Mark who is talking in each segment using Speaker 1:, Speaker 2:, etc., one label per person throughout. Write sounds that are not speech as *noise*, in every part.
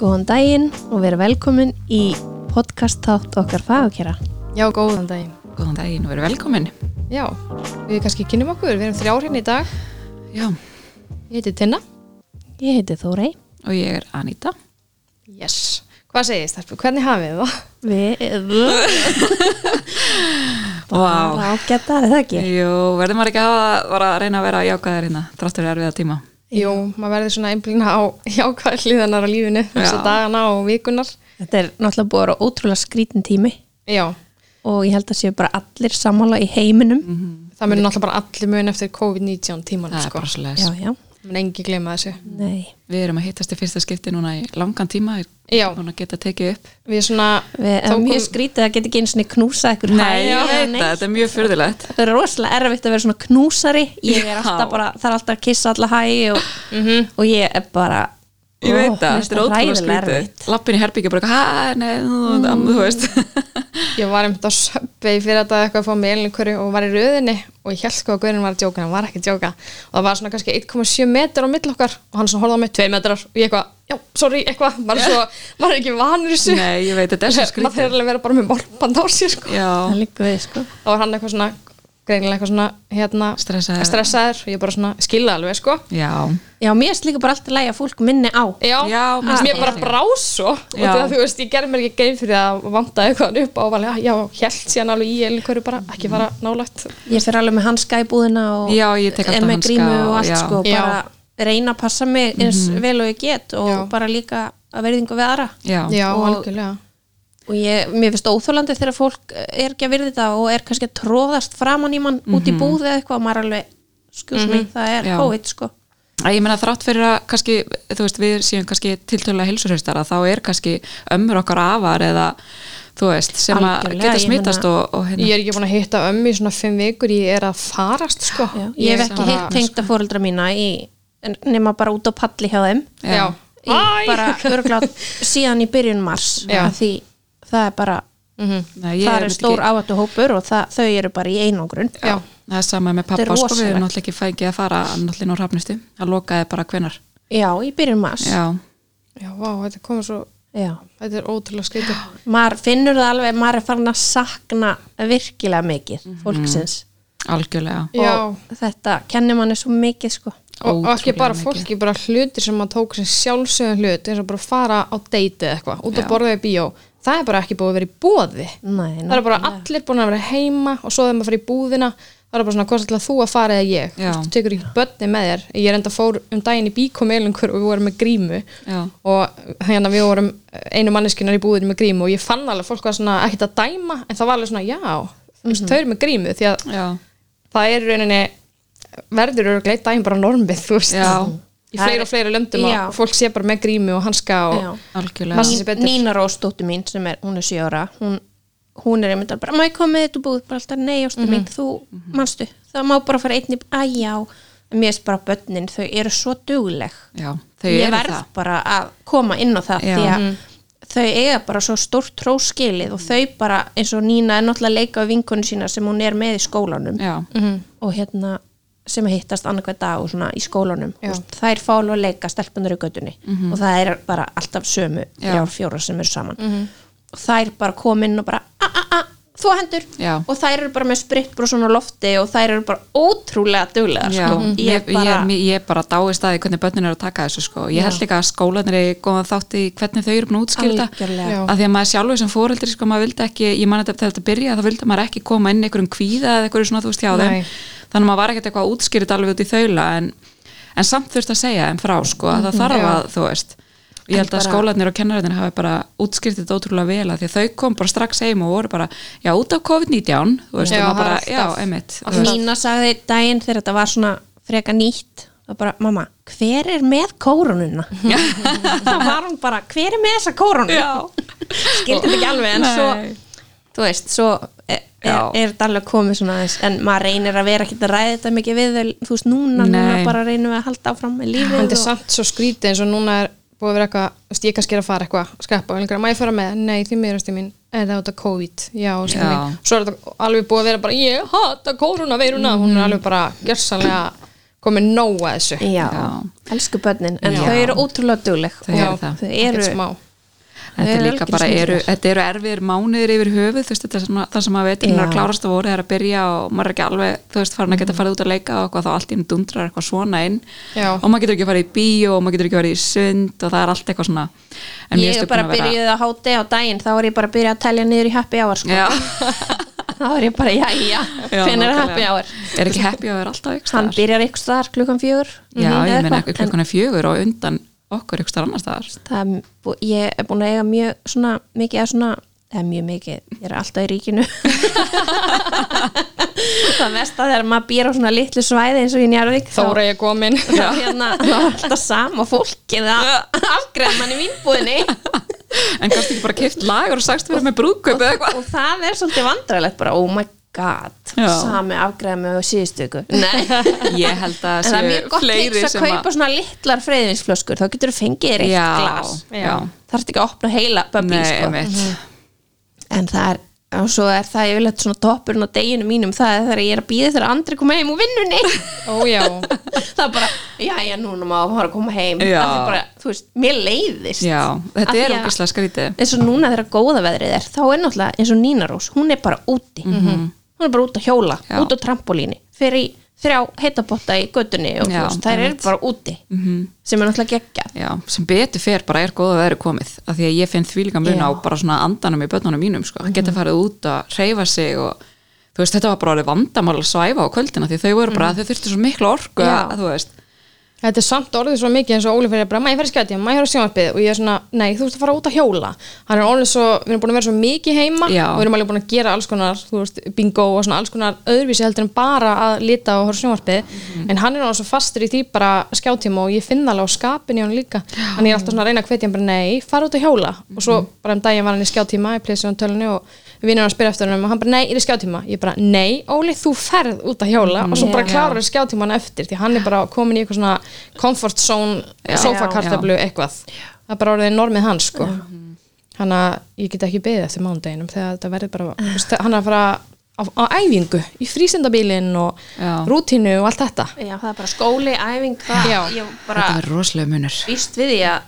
Speaker 1: Góðan daginn og vera velkomin í podcast þátt okkar fagakera.
Speaker 2: Já, góðan daginn.
Speaker 3: Góðan daginn og verið velkomin.
Speaker 2: Já, við kannski kynum okkur, við erum þrjár hérna í dag.
Speaker 3: Já,
Speaker 2: Ég heiti Tinna.
Speaker 1: Ég heiti Þórei.
Speaker 3: og ég er Anita.
Speaker 2: Yes. Hvað segir stelpur, hvernig hafið þið það?
Speaker 1: Við...
Speaker 3: Vá.
Speaker 1: Bara ágætt að það ekki.
Speaker 3: Jú, verður maður ekki að hafa, var að reyna að vera jákaðir hérna, þráttur erfiða tíma.
Speaker 2: Jú, maður verður svona einblýna á jákvæðar hliðanar á lífinu, þess að dagana og vikunar.
Speaker 1: Þetta er náttúrulega búið að vera ótrúlega skrítin tími
Speaker 2: Já,
Speaker 1: og ég held að séu bara allir sammála í heiminum.
Speaker 3: Mm,
Speaker 2: það munir náttúrulega bara allir mun eftir COVID-19 tímanum,
Speaker 3: Það er
Speaker 2: sko.
Speaker 3: bara svo leiðis.
Speaker 1: Já, já.
Speaker 2: Menn engi glema þessu.
Speaker 1: Nei.
Speaker 3: Við erum að hittast í fyrsta skipti núna í langan tíma, er
Speaker 2: Já,
Speaker 3: núna að geta tekið upp.
Speaker 2: við svona,
Speaker 1: Við
Speaker 2: Þó
Speaker 1: erum mjög
Speaker 2: kom-
Speaker 1: skrítið að geta ekki einu svona knúsa ykkur hæ,
Speaker 3: ég
Speaker 1: eða
Speaker 3: veit það,
Speaker 1: neitt.
Speaker 3: þetta er mjög fyrðilegt.
Speaker 1: Það er rosalega erfitt að vera svona knúsari. Ég er
Speaker 3: Já. Mhm.
Speaker 1: alltaf bara, það er alltaf að kissa alla hæ og, og ég er bara...
Speaker 3: Ég
Speaker 1: Ó,
Speaker 3: veit það,
Speaker 1: mér
Speaker 3: þetta er ótrúlega
Speaker 1: hræðilega
Speaker 3: skrítið.
Speaker 1: erfitt.
Speaker 3: Lappin í herbyggja bara, hæ, nei, þú, mm. þú veist. *laughs*
Speaker 2: ég var einmitt á söppi fyrir að það eitthvað að fá með einhverju og var í röðinni og ég held sko að Guðurinn var að djóka, en hann var ekki að djóka og það var svona kannski 1,7 metrar á milli okkar og hann svona horfði á mig 2 metrar og ég eitthvað, já, sorry, eitthvað maður
Speaker 3: *laughs*
Speaker 2: er svo, maður er ekki vanur þessu
Speaker 3: nei, ég veit, þetta er svo
Speaker 2: maður
Speaker 3: skrítið.
Speaker 2: þegar alveg að vera bara með morpand á sér sko.
Speaker 3: Já,
Speaker 1: Það liggur við, sko.
Speaker 2: og var hann eitthvað svona, greinilega eitthvað svona hérna,
Speaker 3: Stressaður.
Speaker 2: stressaður og ég bara svona skilða alveg, sko
Speaker 3: já,
Speaker 1: Já, mér finnst líka bara alltaf lægi að fólk minni á
Speaker 2: Já,
Speaker 3: Já,
Speaker 2: mér,
Speaker 3: mér
Speaker 2: mér bara
Speaker 3: skilst ég.
Speaker 2: brá svo og
Speaker 3: Já.
Speaker 2: það, þú veist, ég gerði mér ekki grein fyrir að vanda eitthvað upp á og var alveg, já, held síðan alveg í einhverju bara, ekki fara nálægt
Speaker 1: Ég fer alveg með hanska í búðina og
Speaker 3: Já, ég tek
Speaker 1: er
Speaker 3: alltaf
Speaker 1: með
Speaker 3: hanska
Speaker 1: grímu og
Speaker 3: og-
Speaker 1: allt
Speaker 3: já. Mhm.
Speaker 1: sko
Speaker 2: Já.
Speaker 1: bara reyna að passa mig eins vel og ég get og
Speaker 2: Já.
Speaker 1: bara líka að verðingu við aðra
Speaker 3: já.
Speaker 2: Já,
Speaker 1: Og-
Speaker 2: algjörlega
Speaker 1: og ég, mér finnst óþólandi þegar fólk er ekki að virði það og er kannski að tróðast framan í mann út í búð eða eitthvað og maður er alveg, skjús mig, það er
Speaker 3: Mhm. Já.
Speaker 1: COVID sko
Speaker 3: Æ, Ég meina þrátt fyrir að kannski, þú veist, við séum kannski tiltölulega hilsurhaustara, þá er kannski ömmur okkar afar eða, þú veist, sem að
Speaker 1: Algjörlega,
Speaker 3: geta
Speaker 1: ég
Speaker 3: smitast
Speaker 1: meina-
Speaker 3: og, og
Speaker 2: Ég
Speaker 3: hérna.
Speaker 2: er ekki búin að hitta ömmu í svona fimm vikur ég er að farast sko
Speaker 1: Já. Ég hef ekki
Speaker 2: bara-
Speaker 1: hitt tengda fóreldra mína í, en- nema bara út á palli hjá þeim
Speaker 2: Já, já.
Speaker 1: í bara örglátt síðan í byrjun mars
Speaker 2: Já. Mhm.
Speaker 1: af því það er bara
Speaker 3: Nei, ég
Speaker 1: það er
Speaker 3: veit
Speaker 1: stór
Speaker 3: ekki-
Speaker 1: áhættu hópur og það, þau eru bara í einangrun
Speaker 2: Já.
Speaker 3: Það er sama með
Speaker 1: Þetta er
Speaker 3: pappa, sko, við
Speaker 1: rosalegt.
Speaker 3: erum náttúrulega ekki fækið að fara náttúrulega á rafnustu, að lokaði bara hvenar.
Speaker 1: já, í byrjun mars
Speaker 3: Já,
Speaker 2: já, vá, þetta komur svo
Speaker 1: Já.
Speaker 2: Þetta er ótrúlega skrítið
Speaker 1: maður finnur það alveg, maður er farin að sakna virkilega mikið
Speaker 3: Mhm.
Speaker 1: fólksins
Speaker 3: algjörlega.
Speaker 2: Mhm. Já,
Speaker 1: og þetta kennir manni svo mikið sko.
Speaker 2: og, og ekki
Speaker 3: Ótrúlega
Speaker 2: bara
Speaker 3: mikið.
Speaker 2: fólki, bara hlutir sem maður tók sem sjálfsögum hlut eins og bara fara á deiti eða eitthvað, út að
Speaker 3: Já.
Speaker 2: borða í bíó Það er bara ekki búið að vera í bóði
Speaker 1: Nei,
Speaker 2: Það er bara allir búin að vera heima og svo þegar maður fyrir í búðina það er bara svona hvort ætla þú að fara eða ég
Speaker 3: Já.
Speaker 2: þú tekur ekki börni með þér ég er enda fór um daginn í bíkom eilungur og við vorum með grímu
Speaker 3: Já.
Speaker 2: og hérna við vorum einu manneskinar í búðinu með grímu og ég fann alveg að fólk var svona ekkert að dæma en það var alveg svona já, mm
Speaker 1: Mhm.
Speaker 2: -hmm. þau eru með grímu því að
Speaker 3: Já,
Speaker 2: það er í rauninni verður eru gleitt dæmi bara normið þú veist
Speaker 3: Já.
Speaker 2: í fleiri og fleiri löndum
Speaker 1: Já.
Speaker 2: að fólk sé bara með grímu og hanska og
Speaker 1: Já.
Speaker 3: algjörlega.
Speaker 2: Passa sig betur.
Speaker 1: Nína Rósdóttir mín sem er, hún er sjö ára hún, hún er einmitt alveg bara, má ég koma með þetta búið bara alltaf, nei ástu mín,
Speaker 3: Mhm.
Speaker 1: þú manstu það má bara fara einn í, að já En mér er bara börnin, þau eru svo dugleg
Speaker 3: Já, þau
Speaker 1: ég
Speaker 3: eru
Speaker 1: verð
Speaker 3: það.
Speaker 1: bara að koma inn á það
Speaker 3: Já. Mhm.
Speaker 1: því að þau eiga bara svo stórt tróskilið og þau bara eins og Nína er náttúrulega að leika á vinkonu sína sem hún er með í skólanum
Speaker 3: Já,
Speaker 1: og hérna sem hittast annarkvæð dag og svona í skólanum
Speaker 2: Já.
Speaker 1: og þær fá alveg að leika stelpunar í göttunni og það er bara alltaf sömu
Speaker 3: Mhm. Já. Mhm.
Speaker 1: þrjár fjóra sem eru saman og þær bara kom inn og bara a a a þú hendur
Speaker 3: Já.
Speaker 1: og þær eru bara með sprittbrosun á lofti og þær eru bara ótrúlega duglegar
Speaker 3: Já, Mhm.
Speaker 1: sko.
Speaker 3: ég, ég, bara... ég, ég bara dáist að því hvernig börnin eru að taka þessu sko. ég held líka að skólanir er góðan þátt í hvernig þau eru búin að útskýrta
Speaker 1: Algjörlega.
Speaker 2: Já.
Speaker 3: að því að maður sjálfur sem fóreldri sko, maður vildi ekki, ég man að þetta- þegar þetta byrja þá vildi maður ekki koma inn einhverjum kvíða eða einhverju svona þú veist hjá þeim
Speaker 2: Nei.
Speaker 3: þannig að maður var ekkert eitthvað að útskýrta alveg út í þaula en, en samt þurft að segja en frá sko, að það þarf
Speaker 2: Já.
Speaker 3: að þú veist ég held að skólanir og kennararnir hafi bara útskýrt þetta ótrúlega vel að því að þau kom bara strax heim og voru bara, já út af COVID-19 þú veist,
Speaker 2: Já,
Speaker 3: og
Speaker 2: það
Speaker 3: maður
Speaker 2: er
Speaker 3: bara, já,
Speaker 2: alltaf-
Speaker 3: einmitt þú
Speaker 1: og
Speaker 3: veist.
Speaker 1: Nína sagði daginn þegar þetta var svona freka nýtt og bara, mamma, hver er með kórununa?
Speaker 3: *laughs*
Speaker 1: þá var hún bara, hver er með þessa kórunu? skildi þetta ekki alveg en
Speaker 3: Nei.
Speaker 1: svo, þú veist, svo er, er,
Speaker 3: Já.
Speaker 1: er þetta alveg komið svona aðeins en maður reynir að vera ekkert að ræða þetta mikið við þau, þú veist, núna, núna
Speaker 3: Nei.
Speaker 1: bara reynum við að halda áfram með lífið
Speaker 2: þetta er samt svo skrítið eins og núna er búið að vera eitthvað, þú veist, ég kannski er að fara eitthvað skreppa og einhverja, má ég fara með, nei því miður ástin mín er það út af COVID, já ástin
Speaker 3: Já.
Speaker 2: mín svo er þetta alveg búið að vera bara, ég hata koronaveiruna, hún er alveg bara gersanlega komið nóg að þessu
Speaker 1: já,
Speaker 3: Já.
Speaker 1: elsku börnin en
Speaker 3: Já.
Speaker 1: þau eru ótrúlega dugleg
Speaker 3: Þau
Speaker 1: og
Speaker 3: eru það.
Speaker 1: þau eru
Speaker 2: Ekkert smá
Speaker 3: Þetta
Speaker 1: Þau
Speaker 3: er
Speaker 1: eru
Speaker 3: líka
Speaker 1: algjörir
Speaker 3: bara, eru,
Speaker 1: snillingar.
Speaker 3: þetta eru erfiðir mánuðir yfir höfuð, þú veist, þetta er svona, það sem að veitir er að
Speaker 1: Já. Mm.
Speaker 3: klárast að voru, það er að byrja og maður er ekki alveg, þú veist, farin að geta farið út að leika og eitthvað, þá allt í einu dundrar eitthvað svona inn
Speaker 2: Já.
Speaker 3: og maður getur ekki farið í bíó og maður getur ekki farið í sund og það er allt eitthvað svona mér
Speaker 1: ég
Speaker 3: finnst
Speaker 1: er
Speaker 3: þau
Speaker 1: bara
Speaker 3: búin að vera-
Speaker 1: byrjuð að háti á daginn þá er ég bara byrjuð að telja niður í happy hour sko. *laughs* þá er ég bara, já, já,
Speaker 3: Já,
Speaker 1: hvernig er
Speaker 3: nákvæmlega.
Speaker 1: happy hour
Speaker 3: Er ekki happy hour alltaf ykkur
Speaker 1: hann byrjar ykkur staðar klukkan fjögur
Speaker 3: Já,
Speaker 1: Mhm, eða
Speaker 3: ég meina
Speaker 1: eitthvað.
Speaker 3: ekki klukkan er fjögur og undan okkur ykkur annars
Speaker 1: *laughs*
Speaker 3: staðar
Speaker 1: það er, bú- ég er búin að eiga mjög svona, mikið að svona eða mjög mikið, ég er alltaf í ríkinu *laughs* það mesta þegar maður býr á svona litlu svæði eins og í Njarðvík þá,
Speaker 2: Þóra ég komin
Speaker 1: þá hérna, þá er alltaf sama fólkið að afgreða mann í vínbúðinni
Speaker 3: *laughs* En kannski ekki bara kipt lagur og sagst vera með brúðkaup eða eitthvað
Speaker 1: og það er svolítið vandræðilegt bara, oh my god
Speaker 3: Já.
Speaker 1: sami afgreða mig á síðustu ykkur nei,
Speaker 3: Ég held
Speaker 1: en það
Speaker 3: að
Speaker 1: er
Speaker 3: séu
Speaker 1: mjög gott
Speaker 3: fleiri
Speaker 1: tips að
Speaker 3: sem að
Speaker 1: kaupa svona litlar freyðinsflöskur, þá getur þú fengið þér eitt
Speaker 3: Já,
Speaker 1: glas
Speaker 3: já.
Speaker 1: þarf ekki að opna heila böbli
Speaker 3: Nei,
Speaker 1: sko.
Speaker 3: einmitt
Speaker 1: en það er og svo er það yfirleitt svona toppurinn á deginu mínum það er þegar ég er að býða þegar andri koma heim úr vinnunni
Speaker 3: *laughs*
Speaker 2: Ójá
Speaker 1: það er bara, já, já, núna má hann fara að koma heim
Speaker 3: Já.
Speaker 1: það er bara, þú veist, mér leiðist
Speaker 3: Já,
Speaker 1: Af
Speaker 3: þetta
Speaker 1: því
Speaker 3: er
Speaker 1: að-
Speaker 3: ógislega skrítið
Speaker 1: eins og núna þegar góða veðrið er þá er náttúrulega eins og Nína Rós, hún er bara úti hún er bara út að hjóla,
Speaker 3: Mhm. Já.
Speaker 1: út á trampolíni fyrir í þrjá heitabotta í göttunni og þú
Speaker 3: Já,
Speaker 1: veist, þær eru
Speaker 3: einmitt. Mhm.
Speaker 1: bara úti -hmm. sem er náttúrulega geggja
Speaker 3: Já, sem betur fer bara er góða veðri komið af því að ég finn þvílíka mun
Speaker 1: Já. Mhm.
Speaker 3: á bara svona andanum í börnunum mínum sko, geta farið út að hreyfa sig og þú veist, þetta var bara alveg vandamál að svæfa á kvöldina því þau voru bara, þau þurftu svo miklu orku
Speaker 1: Mhm. Já.
Speaker 3: að, þú veist,
Speaker 2: Þetta er samt orðið svo mikið eins og Óli fyrir bara, maður fyrir skjátið, maður fyrir sjónvarpið og ég er svona, nei, þú ert að fara út að hjóla hann er orðið svo, við erum búin að vera svo mikið heima
Speaker 3: Já.
Speaker 2: og við erum alveg búin að gera alls konar þú veist, bingo og svona alls konar öðruvísi heldur en bara að lita og horfa á sjónvarpið en hann er orðið svo fastur í því bara skjátíma og ég finn það alveg á skapin í hann líka hann er alltaf svona að reyna að hvetja hann bara, nei, fara út að hjóla og svo bara um daginn var hann í skjátíma í plesið tölunni og vinnur hann spyr eftir hann og hann bara, nei, ég er í skjátíma ég bara, nei, Óli, þú ferð út að hjóla og svo bara
Speaker 3: Já.
Speaker 2: klárar skjátíman eftir því hann er bara komin í eitthvað svona comfort zone sofakartablu eitthvað það er bara orðið normið hans sko hann að ég get ekki beðið eftir mánudeginum þegar þetta verður bara þú veist, hann er að fara á, á æfingu í frísindabílinn og
Speaker 3: Já.
Speaker 2: rútínu og allt þetta
Speaker 1: já, það er bara skóli, æfing það,
Speaker 2: Já.
Speaker 1: ég
Speaker 3: þetta
Speaker 1: bara
Speaker 3: verður rosalega munur
Speaker 1: býst við því að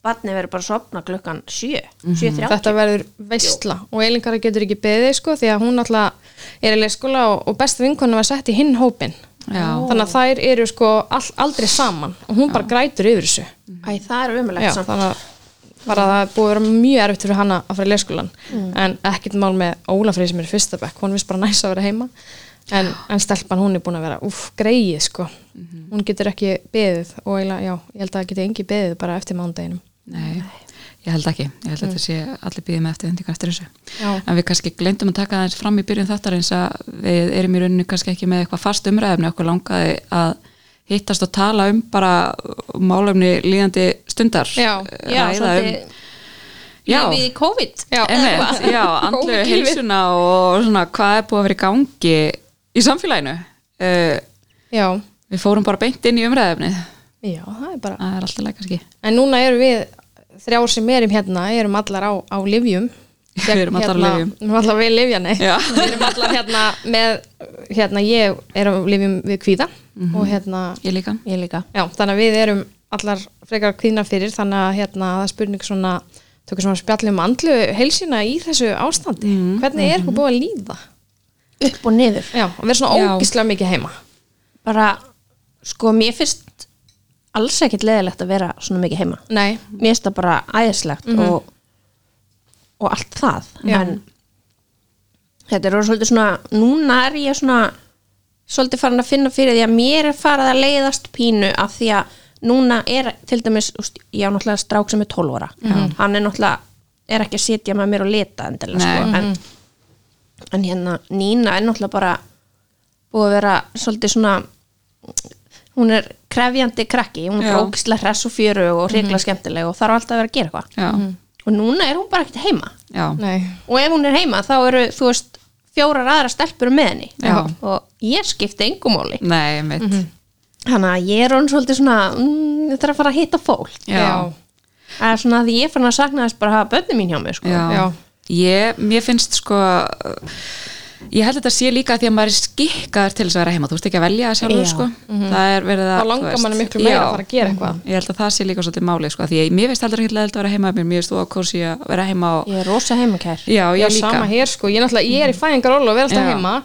Speaker 1: barni verður bara að sopna klukkan 7 7.30
Speaker 2: þetta verður veistla og Elinkara getur ekki beðið sko því að hún alltaf er í leikskóla og, og besta vinkonu var sett í hinn hópin
Speaker 3: Já.
Speaker 2: þannig að þær eru sko all, aldrei saman og hún bara grætur yfir þessu
Speaker 1: Æ, það er
Speaker 2: Já,
Speaker 1: umulegt samt
Speaker 2: þannig að bara það er búið að vera mjög erfitt fyrir hana að fara í leikskólan en ekkert mál með Ólafrið sem er í fyrsta bekk, hún vist bara næs að vera heima en, en stelpan hún er búin að vera úf, greið sko, hún getur ekki beðið og eiginlega, já, ég held að það geti engi beðið bara eftir mándeginum
Speaker 3: Nei, ég held ekki. Ég held að þetta sé allir býðið með eftirvendingar eftir þessu.
Speaker 2: Mm. Já.
Speaker 3: En við kannski glemdum að taka það eins fram í byrjun þáttarins að við erum í rauninu kannski ekki með eitthvað fast umræðumni. Okkur langaði að hittast og tala um bara málefni líðandi stundar.
Speaker 2: Já,
Speaker 1: já,
Speaker 3: Ræða um-
Speaker 1: svolítið
Speaker 3: Já.
Speaker 1: lífið í COVID
Speaker 2: Já,
Speaker 3: Einmitt,
Speaker 2: *laughs*
Speaker 3: já, andlu
Speaker 2: Kónglífið.
Speaker 3: heilsuna og svona hvað er búið að vera í gangi í samfélaginu. Uh,
Speaker 2: já,
Speaker 3: við fórum bara beint inn í umræðumni.
Speaker 2: já, það er bara
Speaker 3: Það er alltaf leið kannski.
Speaker 2: en núna erum við þrjár sem erum hérna, erum allar á, á livjum
Speaker 3: *laughs* Við erum allar á
Speaker 2: hérna,
Speaker 3: lyfjum.
Speaker 2: við erum allar við livja, nei
Speaker 3: Já.
Speaker 2: *laughs* við erum allar hérna með hérna, ég er á livjum við kvíða og hérna,
Speaker 3: Mhm. Ég líka.
Speaker 1: ég líka
Speaker 2: já, þannig að við erum allar frekar kvíðna fyrir, þannig að hérna, það er spurning svona, tökur svona spjallum andlu heilsina í þessu ástandi
Speaker 3: Mhm.
Speaker 2: hvernig er eitthvað búið að líða
Speaker 1: upp og niður
Speaker 2: já, og vera svona
Speaker 3: Já.
Speaker 2: ógislega mikið heima
Speaker 1: bara, sko, mér finnst alls ekkit leðilegt að vera svona mikið heima
Speaker 2: nei,
Speaker 1: mér finnst það bara æðislegt
Speaker 3: Mhm.
Speaker 1: og, og allt það
Speaker 2: Já.
Speaker 1: en þetta er orðið svolítið svona núna er ég svona svolítið farin að finna fyrir því að mér er farið að leiðast pínu af því að núna er til dæmis, úst, ég á náttúrulega strák sem er 12 ára, hann er náttúrulega er ekki að sitja með mér og leta endilega sko,
Speaker 3: Nei. Mm.
Speaker 1: en, en hérna Nína er náttúrulega bara búið að vera svolítið svona hún er krefjandi krakki hún er
Speaker 3: Já.
Speaker 1: bara ógislega hress og fjöru og
Speaker 3: Mhm.
Speaker 1: regla skemmtileg og þarf alltaf að vera að gera eitthvað
Speaker 3: Já,
Speaker 1: og núna er hún bara ekkert heima
Speaker 3: já.
Speaker 2: Mm. nei
Speaker 1: og ef hún er heima þá eru þú veist fjórar aðra stelpur með henni
Speaker 3: Já.
Speaker 1: og ég skipti engum máli
Speaker 3: Nei, mitt.
Speaker 2: Mhm.
Speaker 1: þannig að ég er hún svolítið svona mm, ég þarf að fara að hitta fólk
Speaker 3: Já.
Speaker 1: það er svona að ég er fann að sakna þess bara að hafa bönni mín hjá mér sko.
Speaker 3: já.
Speaker 2: Já.
Speaker 3: Ég, mér finnst sko ég held að þetta sé líka að því að maður er skikkaður til þess að vera heima, þú veist ekki að velja sjálfur
Speaker 1: Já.
Speaker 3: sko. það er verið að
Speaker 2: Mhm. Þá langar
Speaker 3: þú veist,
Speaker 2: manni miklu meira að
Speaker 3: já.
Speaker 2: fara að gera eitthvað.
Speaker 3: ég held að það sé líka svolítið málið sko. því að mér veist heldur ekki leðilt að vera heima mér veist þú að kósi að vera heima og...
Speaker 1: Ég er rosa heimakær.
Speaker 3: já,
Speaker 2: Já,
Speaker 3: ég líka
Speaker 2: sama hér sko, ég, náttúrulega- ég er í fæðingarólu og vera alltaf
Speaker 3: Já.
Speaker 2: heima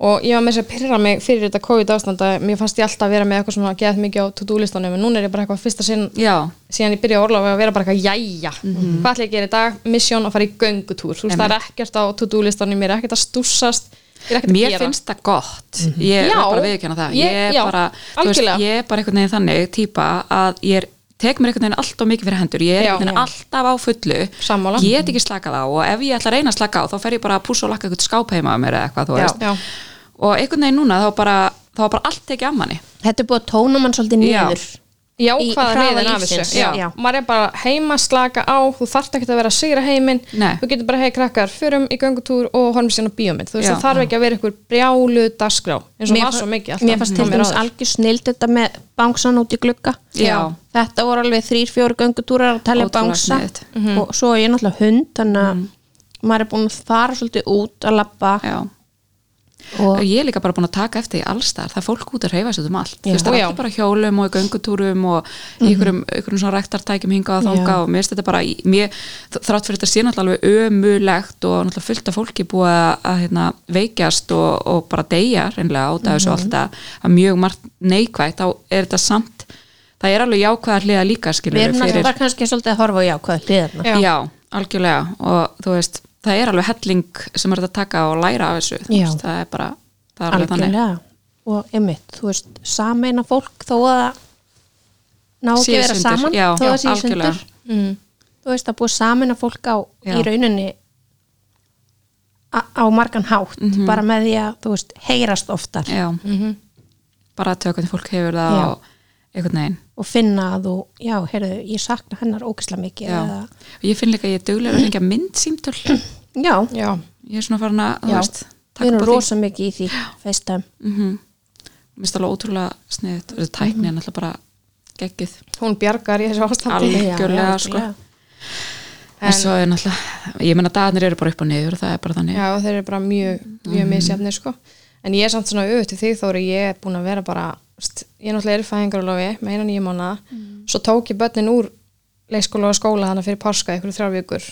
Speaker 2: og ég var með þess að pyrra mig fyrir þetta COVID ástand að mér fannst ég alltaf að vera með eitthvað svona að geða mikið á to-do listanum en núna er ég bara eitthvað fyrsta sinn
Speaker 3: já, Mhm.
Speaker 2: síðan ég byrja á orlofi að vera bara eitthvað jæja hvað ætla ég að gera í dag, misjón að fara í göngutúr þú veist það er ekkert á to-do listanum ég er ekkert að stússast, ég er ekkert að
Speaker 3: mér
Speaker 2: gera Mhm.
Speaker 3: finnst það gott ég
Speaker 2: Já,
Speaker 3: er bara að viðkjöna það
Speaker 2: ég-
Speaker 3: ég, er
Speaker 2: já,
Speaker 3: bara, þú
Speaker 2: algjörlega.
Speaker 3: ég er bara einhvern veginn þannig típa að ég er, tek mér einhvern veginn allt og mikið fyrir hendur ég er
Speaker 2: Já.
Speaker 3: einhvern veginn alltaf á fullu
Speaker 2: Sammála.
Speaker 3: get ekki slakað á og ef ég ætla að reyna að slaka á þá fer ég bara að púsa og lakka eitthvað skáp heima á mér eða eitthvað, þú
Speaker 1: Já.
Speaker 3: veist
Speaker 2: Já.
Speaker 3: og einhvern veginn núna þá bara, þá var bara allt tekið af manni
Speaker 1: Þetta er búið að tóna mann svolítið
Speaker 3: Já.
Speaker 1: niður.
Speaker 2: já,
Speaker 1: Í
Speaker 2: hvað er
Speaker 1: hraða
Speaker 2: reyðin af
Speaker 1: lífsins,
Speaker 2: þessu já.
Speaker 1: já.
Speaker 2: maður er bara heima slaka á þú þarft ekki að vera að sigra heiminn
Speaker 3: Nei.
Speaker 2: þú getur bara, hei krakkar, förum í göngutúr og horfum síðan á bíómynd, þú veist
Speaker 3: Já.
Speaker 2: það þarf ekki að vera eitthvað brjálu dagskrá eins og
Speaker 1: Mér
Speaker 2: var
Speaker 1: fa-
Speaker 2: svo mikið alltaf
Speaker 1: Mér fannst til
Speaker 2: hjá
Speaker 1: dæmis
Speaker 2: áður.
Speaker 1: algjör snild þetta með bangsan út í glugga.
Speaker 3: Já.
Speaker 1: Þetta voru alveg þrýr, fjóri göngutúrar að telja
Speaker 3: Ótrúlega Mhm.
Speaker 1: bangsa Mhm.
Speaker 3: sniðugt.
Speaker 1: og svo er ég náttúrulega hund, þannig að maður er búin að fara svolítið út að labba
Speaker 3: já.
Speaker 1: og
Speaker 3: ég er líka bara búin að taka eftir því alls þar það er fólk út að reyfa sér um allt þú veist, það
Speaker 2: Já.
Speaker 3: er allir bara á hjólum og í göngutúrum og í einhverjum, einhverjum svona rektartækjum hingað og þanga
Speaker 1: Mhm. Já.
Speaker 3: og mér finnst þetta bara í- mér, þrátt fyrir þetta sé náttúrulega alveg ömulegt og náttúrulega fullt af fólki búið að, að hérna, veikjast og, og bara deyja reynlega út af
Speaker 1: Mhm.
Speaker 3: þessu alltaf að mjög margt neikvægt þá er þetta samt það er alveg jákvæðar hliða líka skilur
Speaker 1: við erum náttúrulega kannski svolítið að horfa á jákvæða hliðarna.
Speaker 2: Já.
Speaker 3: já. algjörlega og þú veist, það er alveg helling sem er þetta að taka og læra af þessu Þú
Speaker 1: Já.
Speaker 3: veist, það er bara, það er alveg þannig
Speaker 1: algjörlega og einmitt, þú veist, sameina fólk þó að það ná ekki
Speaker 3: Sé
Speaker 1: að vera
Speaker 3: sundur,
Speaker 1: saman
Speaker 3: já,
Speaker 1: þó að
Speaker 3: já,
Speaker 1: það sé í
Speaker 3: algjörlega.
Speaker 1: sundur
Speaker 2: Mm,
Speaker 1: þú veist, að búið sameina fólk á
Speaker 3: Já.
Speaker 1: í rauninni a- á margan hátt bara með því að, þú veist, heyrast oftar
Speaker 3: Mhm. já, Mhm.
Speaker 2: Mhm.
Speaker 3: bara að tjóka hvernig fólk hefur það
Speaker 1: Já.
Speaker 3: og einhvern veginn
Speaker 1: og finna að þú, já, heyrðu, ég sakna hennar ógislega mikið
Speaker 3: já.
Speaker 1: eða,
Speaker 3: og ég finn líka að ég er duglega að hengja mynd símtöl
Speaker 1: já
Speaker 2: já,
Speaker 3: ég er svona farin að, þú
Speaker 2: Já.
Speaker 3: veist,
Speaker 1: við
Speaker 3: taka
Speaker 1: erum
Speaker 3: upp á því
Speaker 1: rosa mikið í því FaceTime,
Speaker 3: mm mér finnst alveg ótrúlega sniðut og þetta tækni er náttúrulega bara geggið
Speaker 2: hún bjargar í þessu ástandi
Speaker 3: Alveg.
Speaker 1: Já, já,
Speaker 3: Algjörlega, sko. en, svo er náttúrulega, ég menna dagarnir eru bara upp og niður og það er bara þannig
Speaker 2: já, og þeir eru bara mjög, mjög misjafnir sko. en ég er samt svona auðvitað því þóri ég er búin að vera bara st, ég náttúrulega er fæðingarólofi með eina nýja mánu svo tók ég börnin úr leikskóla og skóla þannig fyrir páska ykkur þrjár vikur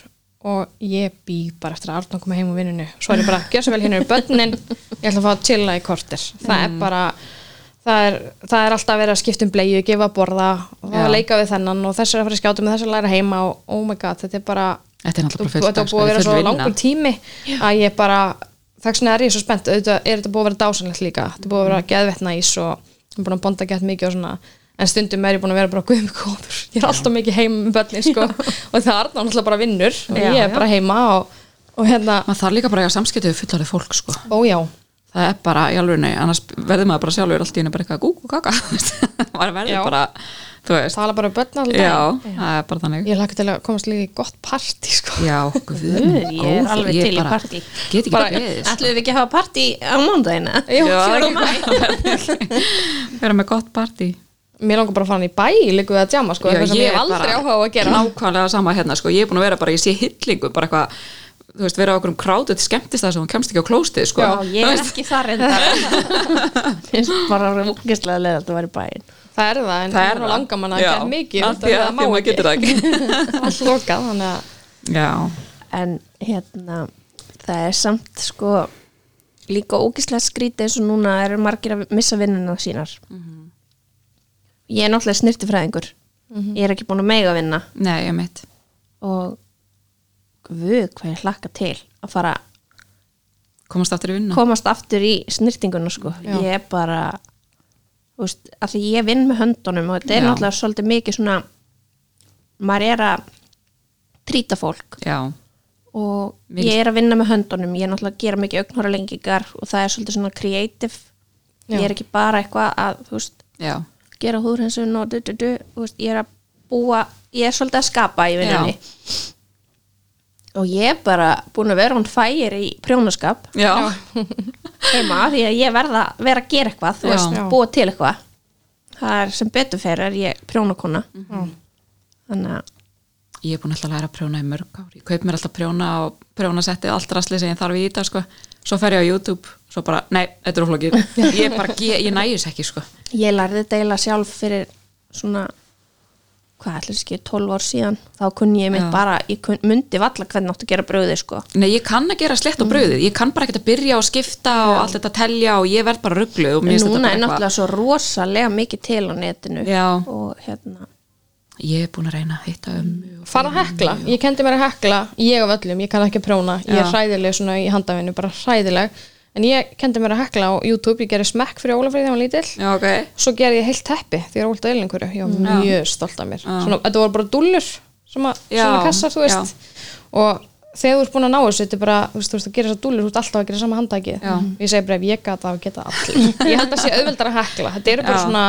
Speaker 2: og ég bý bara eftir að Arnón koma heim úr vinnunni svo er ég bara, gjör svo vel hérna er börnin ég ætla að fá að chilla í kortir það er bara, það er, það er alltaf að vera að skipta um bleiðu, gefa að borða og það
Speaker 3: Já.
Speaker 2: að leika við þennan og þessar að fara í skjátum og þessar að læra heima og oh my god, þetta er bara
Speaker 3: Þetta er náttúrulega bara full
Speaker 2: Þetta er búið
Speaker 3: dagskrá,
Speaker 2: að vera
Speaker 3: full
Speaker 2: svo
Speaker 3: vinna.
Speaker 2: langur tími að ég bara, þess vegna er ég svo spennt auðvitað er þetta búið að vera dásanlegt líka þetta er búið að
Speaker 3: Mm.
Speaker 2: vera geðvett næs og ég er búin að bonda gett mikið og svona en stundum er ég búin að vera bara guðum góður ég er alltaf mikið heim með börnin sko og það er náttúrulega bara vinnur og
Speaker 1: Já,
Speaker 2: ég er
Speaker 1: já.
Speaker 2: bara heima og, og hérna,
Speaker 3: maður þarf líka bara að samskipta við fullarið fólk sko.
Speaker 2: ójá
Speaker 3: það er bara í alveg nei, annars verður maður bara sjálfur allt í henni bara eitthvað gúk og kaka *laughs* þú veist. maður verður
Speaker 2: Já.
Speaker 3: bara, þú veist
Speaker 2: tala bara um börn alltaf
Speaker 3: já, það er bara þannig
Speaker 2: ég laka til að komast líka í gott parti sko
Speaker 3: já, guð, minn
Speaker 1: ég er
Speaker 3: góður,
Speaker 1: alveg til í
Speaker 3: bara
Speaker 1: partí.
Speaker 3: get ekki
Speaker 2: Bara-
Speaker 3: bara beðið sko.
Speaker 1: Ætlum við ekki að hafa partí á mándagina?
Speaker 2: Jú,
Speaker 3: Já,
Speaker 2: fjórða maí.
Speaker 3: vera með gott partí
Speaker 2: mér langar bara að fara hann í bæ líkuð að djama sko,
Speaker 3: Já,
Speaker 2: eitthvað sem ég hef
Speaker 3: er
Speaker 2: aldrei
Speaker 3: bara
Speaker 2: áhuga á að gera
Speaker 3: nákvæmlega sama hérna, sko, ég er búin að vera bara ég sé hillingu, bara eitthvað þú veist, vera okkur um krátu til skemmtist það sem hún kemst ekki á klóstið sko.
Speaker 1: Já, ég
Speaker 3: *laughs*
Speaker 1: er ekki þar reyndar finnst bara rúkislega leið að þetta væri bæinn
Speaker 2: það er það, en
Speaker 3: það er
Speaker 2: það langar manna að
Speaker 3: Já,
Speaker 2: gera mikið
Speaker 3: af því að- af því að maður
Speaker 2: *laughs*
Speaker 3: getur það ekki
Speaker 2: allt lokað þannig að
Speaker 3: *laughs* já,
Speaker 1: en hérna það er samt sko líka ógislega skrítið eins og núna eru margir að missa vinnuna sínar ég er náttúrulega snirtifræðingur ég er ekki búin að mega vinna
Speaker 3: nei, ég mitt
Speaker 1: og guð hvað ég hlakka til að fara að
Speaker 3: komast aftur í vinna
Speaker 1: komast aftur í snirtinguna sko
Speaker 2: Já.
Speaker 1: ég er bara þú veist, af því ég vinn með höndunum og þetta er
Speaker 3: Já.
Speaker 1: náttúrulega svolítið mikið svona maður er að trýta fólk
Speaker 3: já,
Speaker 1: og
Speaker 3: Mikið-
Speaker 1: ég er að vinna með höndunum ég er náttúrulega að gera mikið augnhóra lengingar og það er svolítið svona creative
Speaker 2: Já.
Speaker 1: ég er ekki bara eitthvað að þú veist,
Speaker 3: já,
Speaker 1: gera húðrinsun og du, du, du, þú veist, ég er að búa ég er svolítið að skapa í vinnunni og ég er bara búin að vera hún fægir í prjónaskap
Speaker 3: já.
Speaker 1: heima því að ég verða vera að gera eitthvað, þú
Speaker 3: Já.
Speaker 1: veist,
Speaker 2: Já.
Speaker 1: búa til eitthvað það er sem betur fer er ég prjónakona þannig að
Speaker 3: ég er búin alltaf að læra að prjóna í mörg ár ég kaup mér alltaf prjóna og prjónasettið allt rastli sem ég þarf í þetta sko. svo fer ég á YouTube svo bara, nei, þetta er
Speaker 2: *laughs*
Speaker 3: oflokið ég bara, ég, ég nægis ekki sko
Speaker 1: Ég lærði þetta eiginlega sjálf fyrir svona hvað ætlir ekki, 12 ár síðan þá kunni ég mitt
Speaker 3: Já.
Speaker 1: bara, ég kun, mundi valla hvernig áttu að gera brauði sko
Speaker 3: Nei, ég kann að gera
Speaker 2: Mm.
Speaker 3: slett á brauðið, ég kann bara ekkert að byrja og skipta og allt þetta að telja og ég verð bara rugglu og mér finnst þetta
Speaker 1: Núna er
Speaker 3: bara
Speaker 1: náttúrulega svo rosalega mikið til á netinu
Speaker 3: Já.
Speaker 1: og hérna
Speaker 3: Ég er búin að reyna að hitta ömmu og
Speaker 2: fara að hekla, ég kendi mér að hekla ég af öllum, ég kann ekki að prjóna ég er
Speaker 3: Já.
Speaker 2: hræðileg svona í handafinu, bara hræðileg en ég kendi mér að hekla á YouTube ég gerði smekk fyrir Ólafrið þegar hann lítill
Speaker 3: Já, ok
Speaker 2: svo gerði ég heilt teppi því ég er ólt að einhverju ég var mjög stolt af mér svona, þetta voru bara dullur svona,
Speaker 3: Já,
Speaker 2: svona kassar, þú veist og þegar þú ert búin að ná þessu þetta er bara, þú veist, þú veist að gera þessar dullur þú ert alltaf að gera sama handaki ég segi bara ef ég gata að geta allir *laughs* ég held að sé auðveldar að hekla þetta eru bara
Speaker 3: Já.
Speaker 2: svona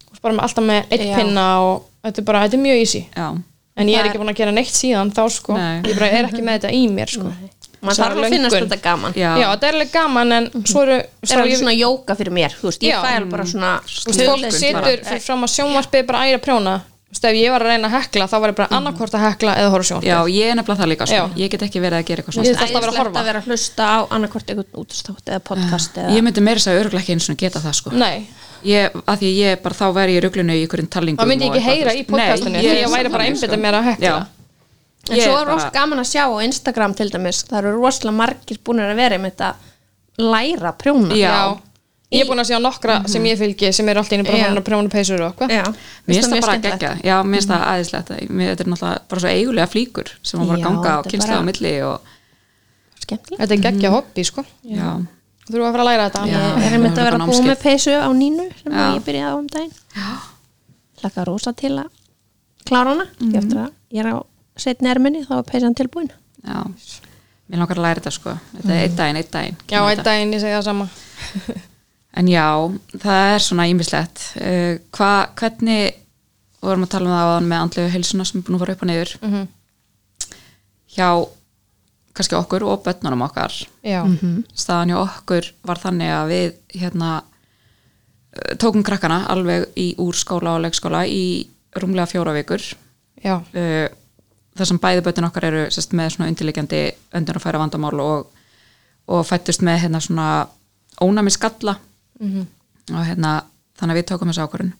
Speaker 2: þú veist, bara með, alltaf með eitt
Speaker 1: Já.
Speaker 2: pinna og þetta er bara, þetta er mjög easy
Speaker 3: Já,
Speaker 2: en ég
Speaker 1: Það
Speaker 2: er
Speaker 1: er-
Speaker 2: ekki búin að gera neitt síðan þá sko
Speaker 3: Nei.
Speaker 2: ég bara er ekki með þetta í mér sko
Speaker 1: maður
Speaker 2: Svona
Speaker 1: þarf að finnast
Speaker 2: löngun.
Speaker 1: þetta gaman
Speaker 3: já,
Speaker 2: já, þetta er alveg gaman en svo eru
Speaker 1: Það er alveg svona jóka fyrir mér, þú veist, ég
Speaker 2: Já.
Speaker 1: fæ alveg bara svona
Speaker 3: Mm.
Speaker 2: Þú veist, fólk
Speaker 1: Hulinn bara.
Speaker 2: situr fyrir fram að sjónvarpið bara æra prjóna Þú veist, ef ég var að reyna að hekla þá var ég bara annarkvort að hekla eða horfa á
Speaker 3: Mhm. já,
Speaker 2: sjónvarpið
Speaker 3: ég er nefnilega það líka sko.
Speaker 2: Já.
Speaker 3: Ég get ekki verið að gera eitthvað
Speaker 2: Ég er
Speaker 3: svona
Speaker 2: alltaf að vera að
Speaker 1: Æðislegt
Speaker 2: horfa.
Speaker 1: að vera að hlusta á annarkvort einhvern útastátt eða podcast eða
Speaker 3: Ég myndi meira þess að örgulega ekki eins og geta það sko.
Speaker 2: nei,
Speaker 3: ég, að því ég bara þá væri ég í ruglunu í ykkurinn talningum
Speaker 2: þá myndi ég
Speaker 3: og
Speaker 2: ekki
Speaker 3: eitthvað,
Speaker 2: heyra
Speaker 3: þú
Speaker 2: í
Speaker 3: veist.
Speaker 2: podcastinu
Speaker 3: Nei,
Speaker 2: því
Speaker 3: er
Speaker 2: ég væri bara
Speaker 3: þannig,
Speaker 2: einbytta
Speaker 3: sko.
Speaker 2: mér að hekla
Speaker 3: Já.
Speaker 1: En
Speaker 3: Ég
Speaker 1: svo
Speaker 3: er
Speaker 1: er rosa
Speaker 3: bara-
Speaker 1: gaman að sjá á Instagram til dæmis, það eru rosalega margir búin að vera með þetta læra að prjóna
Speaker 3: Já. Mm.
Speaker 2: ég er búin að sjá nokkra sem ég fylgi sem eru alltaf einu bara
Speaker 1: Já.
Speaker 2: hann að prjóna peysur og eitthvað
Speaker 1: Já.
Speaker 3: Mér finnst það
Speaker 1: mjög
Speaker 3: bara að
Speaker 1: skemmtilegt.
Speaker 3: gegja, já, mér finnst það aðeinslegt Þetta er náttúrulega bara svo eigulega flíkur sem að bara
Speaker 1: Já,
Speaker 3: ganga á
Speaker 1: þetta er
Speaker 3: kynslega á
Speaker 1: bara-
Speaker 3: milli og,
Speaker 1: Skemmtilegt
Speaker 2: þetta er geggja hobby sko
Speaker 3: já,
Speaker 2: þú þurfum að fara að læra þetta
Speaker 3: Mhm. Já.
Speaker 1: Ég er
Speaker 3: það
Speaker 1: einmitt
Speaker 3: var
Speaker 1: að vera
Speaker 3: bara
Speaker 1: að búa
Speaker 3: námskeið.
Speaker 1: með peysu á nínu sem
Speaker 3: Já.
Speaker 1: ég byrjaði á um daginn Laka rosa til að klára hana
Speaker 3: Mhm.
Speaker 1: mm. eftir að ég er á setni erminni þá er peysan tilbúin
Speaker 3: já Mér langar að læra þetta sko Þetta er einn daginn, einn daginn
Speaker 2: já, einn daginn ég segi það sama
Speaker 3: En já, það er svona ímislegt. Uh, hva, hvernig, við vorum að tala um það áðan með andlegu heilsuna sem er búin að fara upp og niður,
Speaker 2: Mhm.
Speaker 3: hjá kannski okkur og börnunum okkar,
Speaker 2: já,
Speaker 3: Mhm. staðan hjá okkur var þannig að við hérna eh, tókum krakkana alveg í úr skóla og leikskóla í rúmlega fjóra vikur
Speaker 2: já,
Speaker 3: uh, þar sem bæði bötin okkar eru sest, með svona undirleikjandi öndur að færa vandamál og, og fættust með hérna svona ónami skalla og hérna þannig að við tókum þessu ákvörun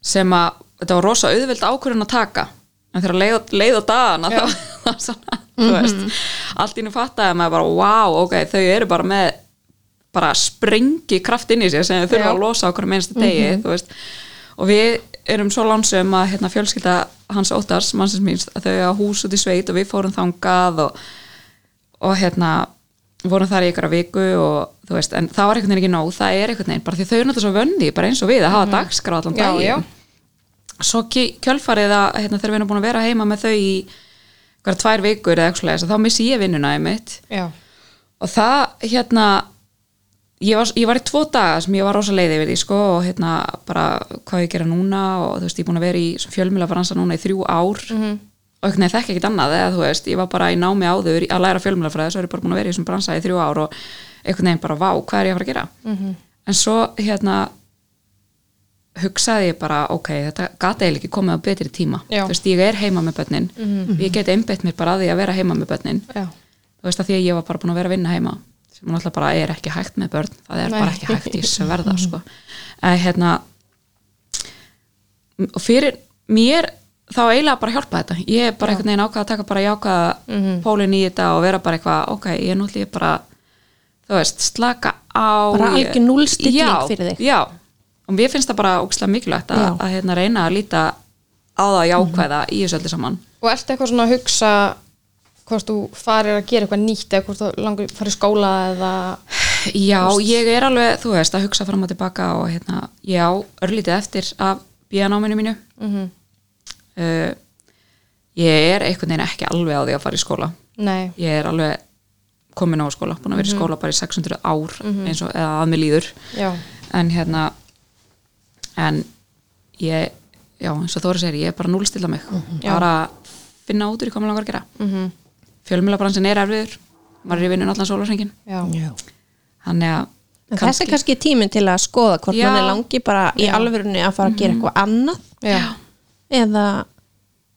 Speaker 3: sem að þetta var rosa auðveld ákvörun að taka en þegar leið, leið á dagana þá var svona, þú veist
Speaker 2: Mhm.
Speaker 3: allt ínum fattaði maður bara, wow, ok þau eru bara með bara springi kraft inn í sér sem þau þurfa
Speaker 2: Já. Mhm.
Speaker 3: að losa okkur með einstu degi, þú veist og við erum svo lánsum að hérna, fjölskylda hans óttars, mannsins míns að þau á hús út í sveit og við fórum þangað og, og hérna vorum þar í ykkur viku og þú veist, en það var einhvern veginn ekki nóg, það er einhvern veginn bara því þau eru náttúrulega svo vönni, bara eins og við að hafa dagskrá allan
Speaker 2: Mhm. já, já
Speaker 3: daginn svo ki- kjölfarið að hérna, þegar við erum búin að vera heima með þau í hverja tvær vikur eða eitthvað svoleiðis, að þá missi ég vinnuna einmitt
Speaker 2: já,
Speaker 3: og það hérna ég var, ég var í tvo daga sem ég var rosa leiði við því sko og hérna bara hvað ég gera núna og þú veist ég er búin að vera í fjölmjöla fransa núna í þrjú ár og einhvern veginn þekki ekkert annað eða þú veist ég var bara í námi áður í- að læra fjölmjölafræði svo er ég bara búin að vera í þessum bransa í þrjú ár og einhvern veginn bara vá hvað er ég að fara að gera en svo hérna hugsaði ég bara ok, þetta gata eiginlega ekki komið á betri tíma
Speaker 2: Já.
Speaker 3: þú veist ég er heima með börnin ég get einbeitt mér bara að því að vera heima með börnin
Speaker 2: já,
Speaker 3: þú veist að því að ég var bara búin að vera að vinna heima sem hún alltaf bara er ekki hægt með börn það er
Speaker 2: Nei.
Speaker 3: bara ekki hægt í sverða
Speaker 1: Mhm.
Speaker 3: sko. að hérna m- og fyrir mér þá eiginlega bara hjálpa þetta ég er bara einhvern veginn ákvað að taka bara jákaða
Speaker 1: Mhm.
Speaker 3: pólinn í þetta og vera bara eitthvað ok, ég er náttúrulega bara þú veist, slaka á
Speaker 1: Bara
Speaker 3: ég-
Speaker 1: algjör núllstilling
Speaker 3: Já,
Speaker 1: fyrir þig.
Speaker 3: já, og mér finnst það bara ókslega mikilvægt að,
Speaker 1: Já. Mhm.
Speaker 3: að hérna, reyna að líta á það jákvæða í þessu öllu saman
Speaker 2: og ertu eitthvað svona að hugsa hvort þú farir að gera eitthvað nýtt eða hvort þú langur farið skóla eða
Speaker 3: Já, ég er alveg, þú veist, að hugsa fram og tilbaka og hérna, ég á örlítið eftir af bíanáminu mínu uh, ég er einhvern veginn ekki alveg á því að fara í skóla
Speaker 2: nei,
Speaker 3: ég er alveg komin á skóla, búin að vera í skóla bara í 600 ár eins og eða að mér líður
Speaker 2: já,
Speaker 3: en hérna en ég já, eins og Þóri segir, ég er bara að núlstilla mig bara finna út úr í hvað mér langar að gera mm -hmm. fjölmjölabransin er erfiður maður er í vinnun allan sólarsengin
Speaker 2: já,
Speaker 3: þannig að
Speaker 1: En Þessi er kannski tíminn til að skoða hvort
Speaker 3: Já. Mhm.
Speaker 1: mann er langi bara í alvörunni að fara að gera eitthvað annað
Speaker 2: já.
Speaker 1: eða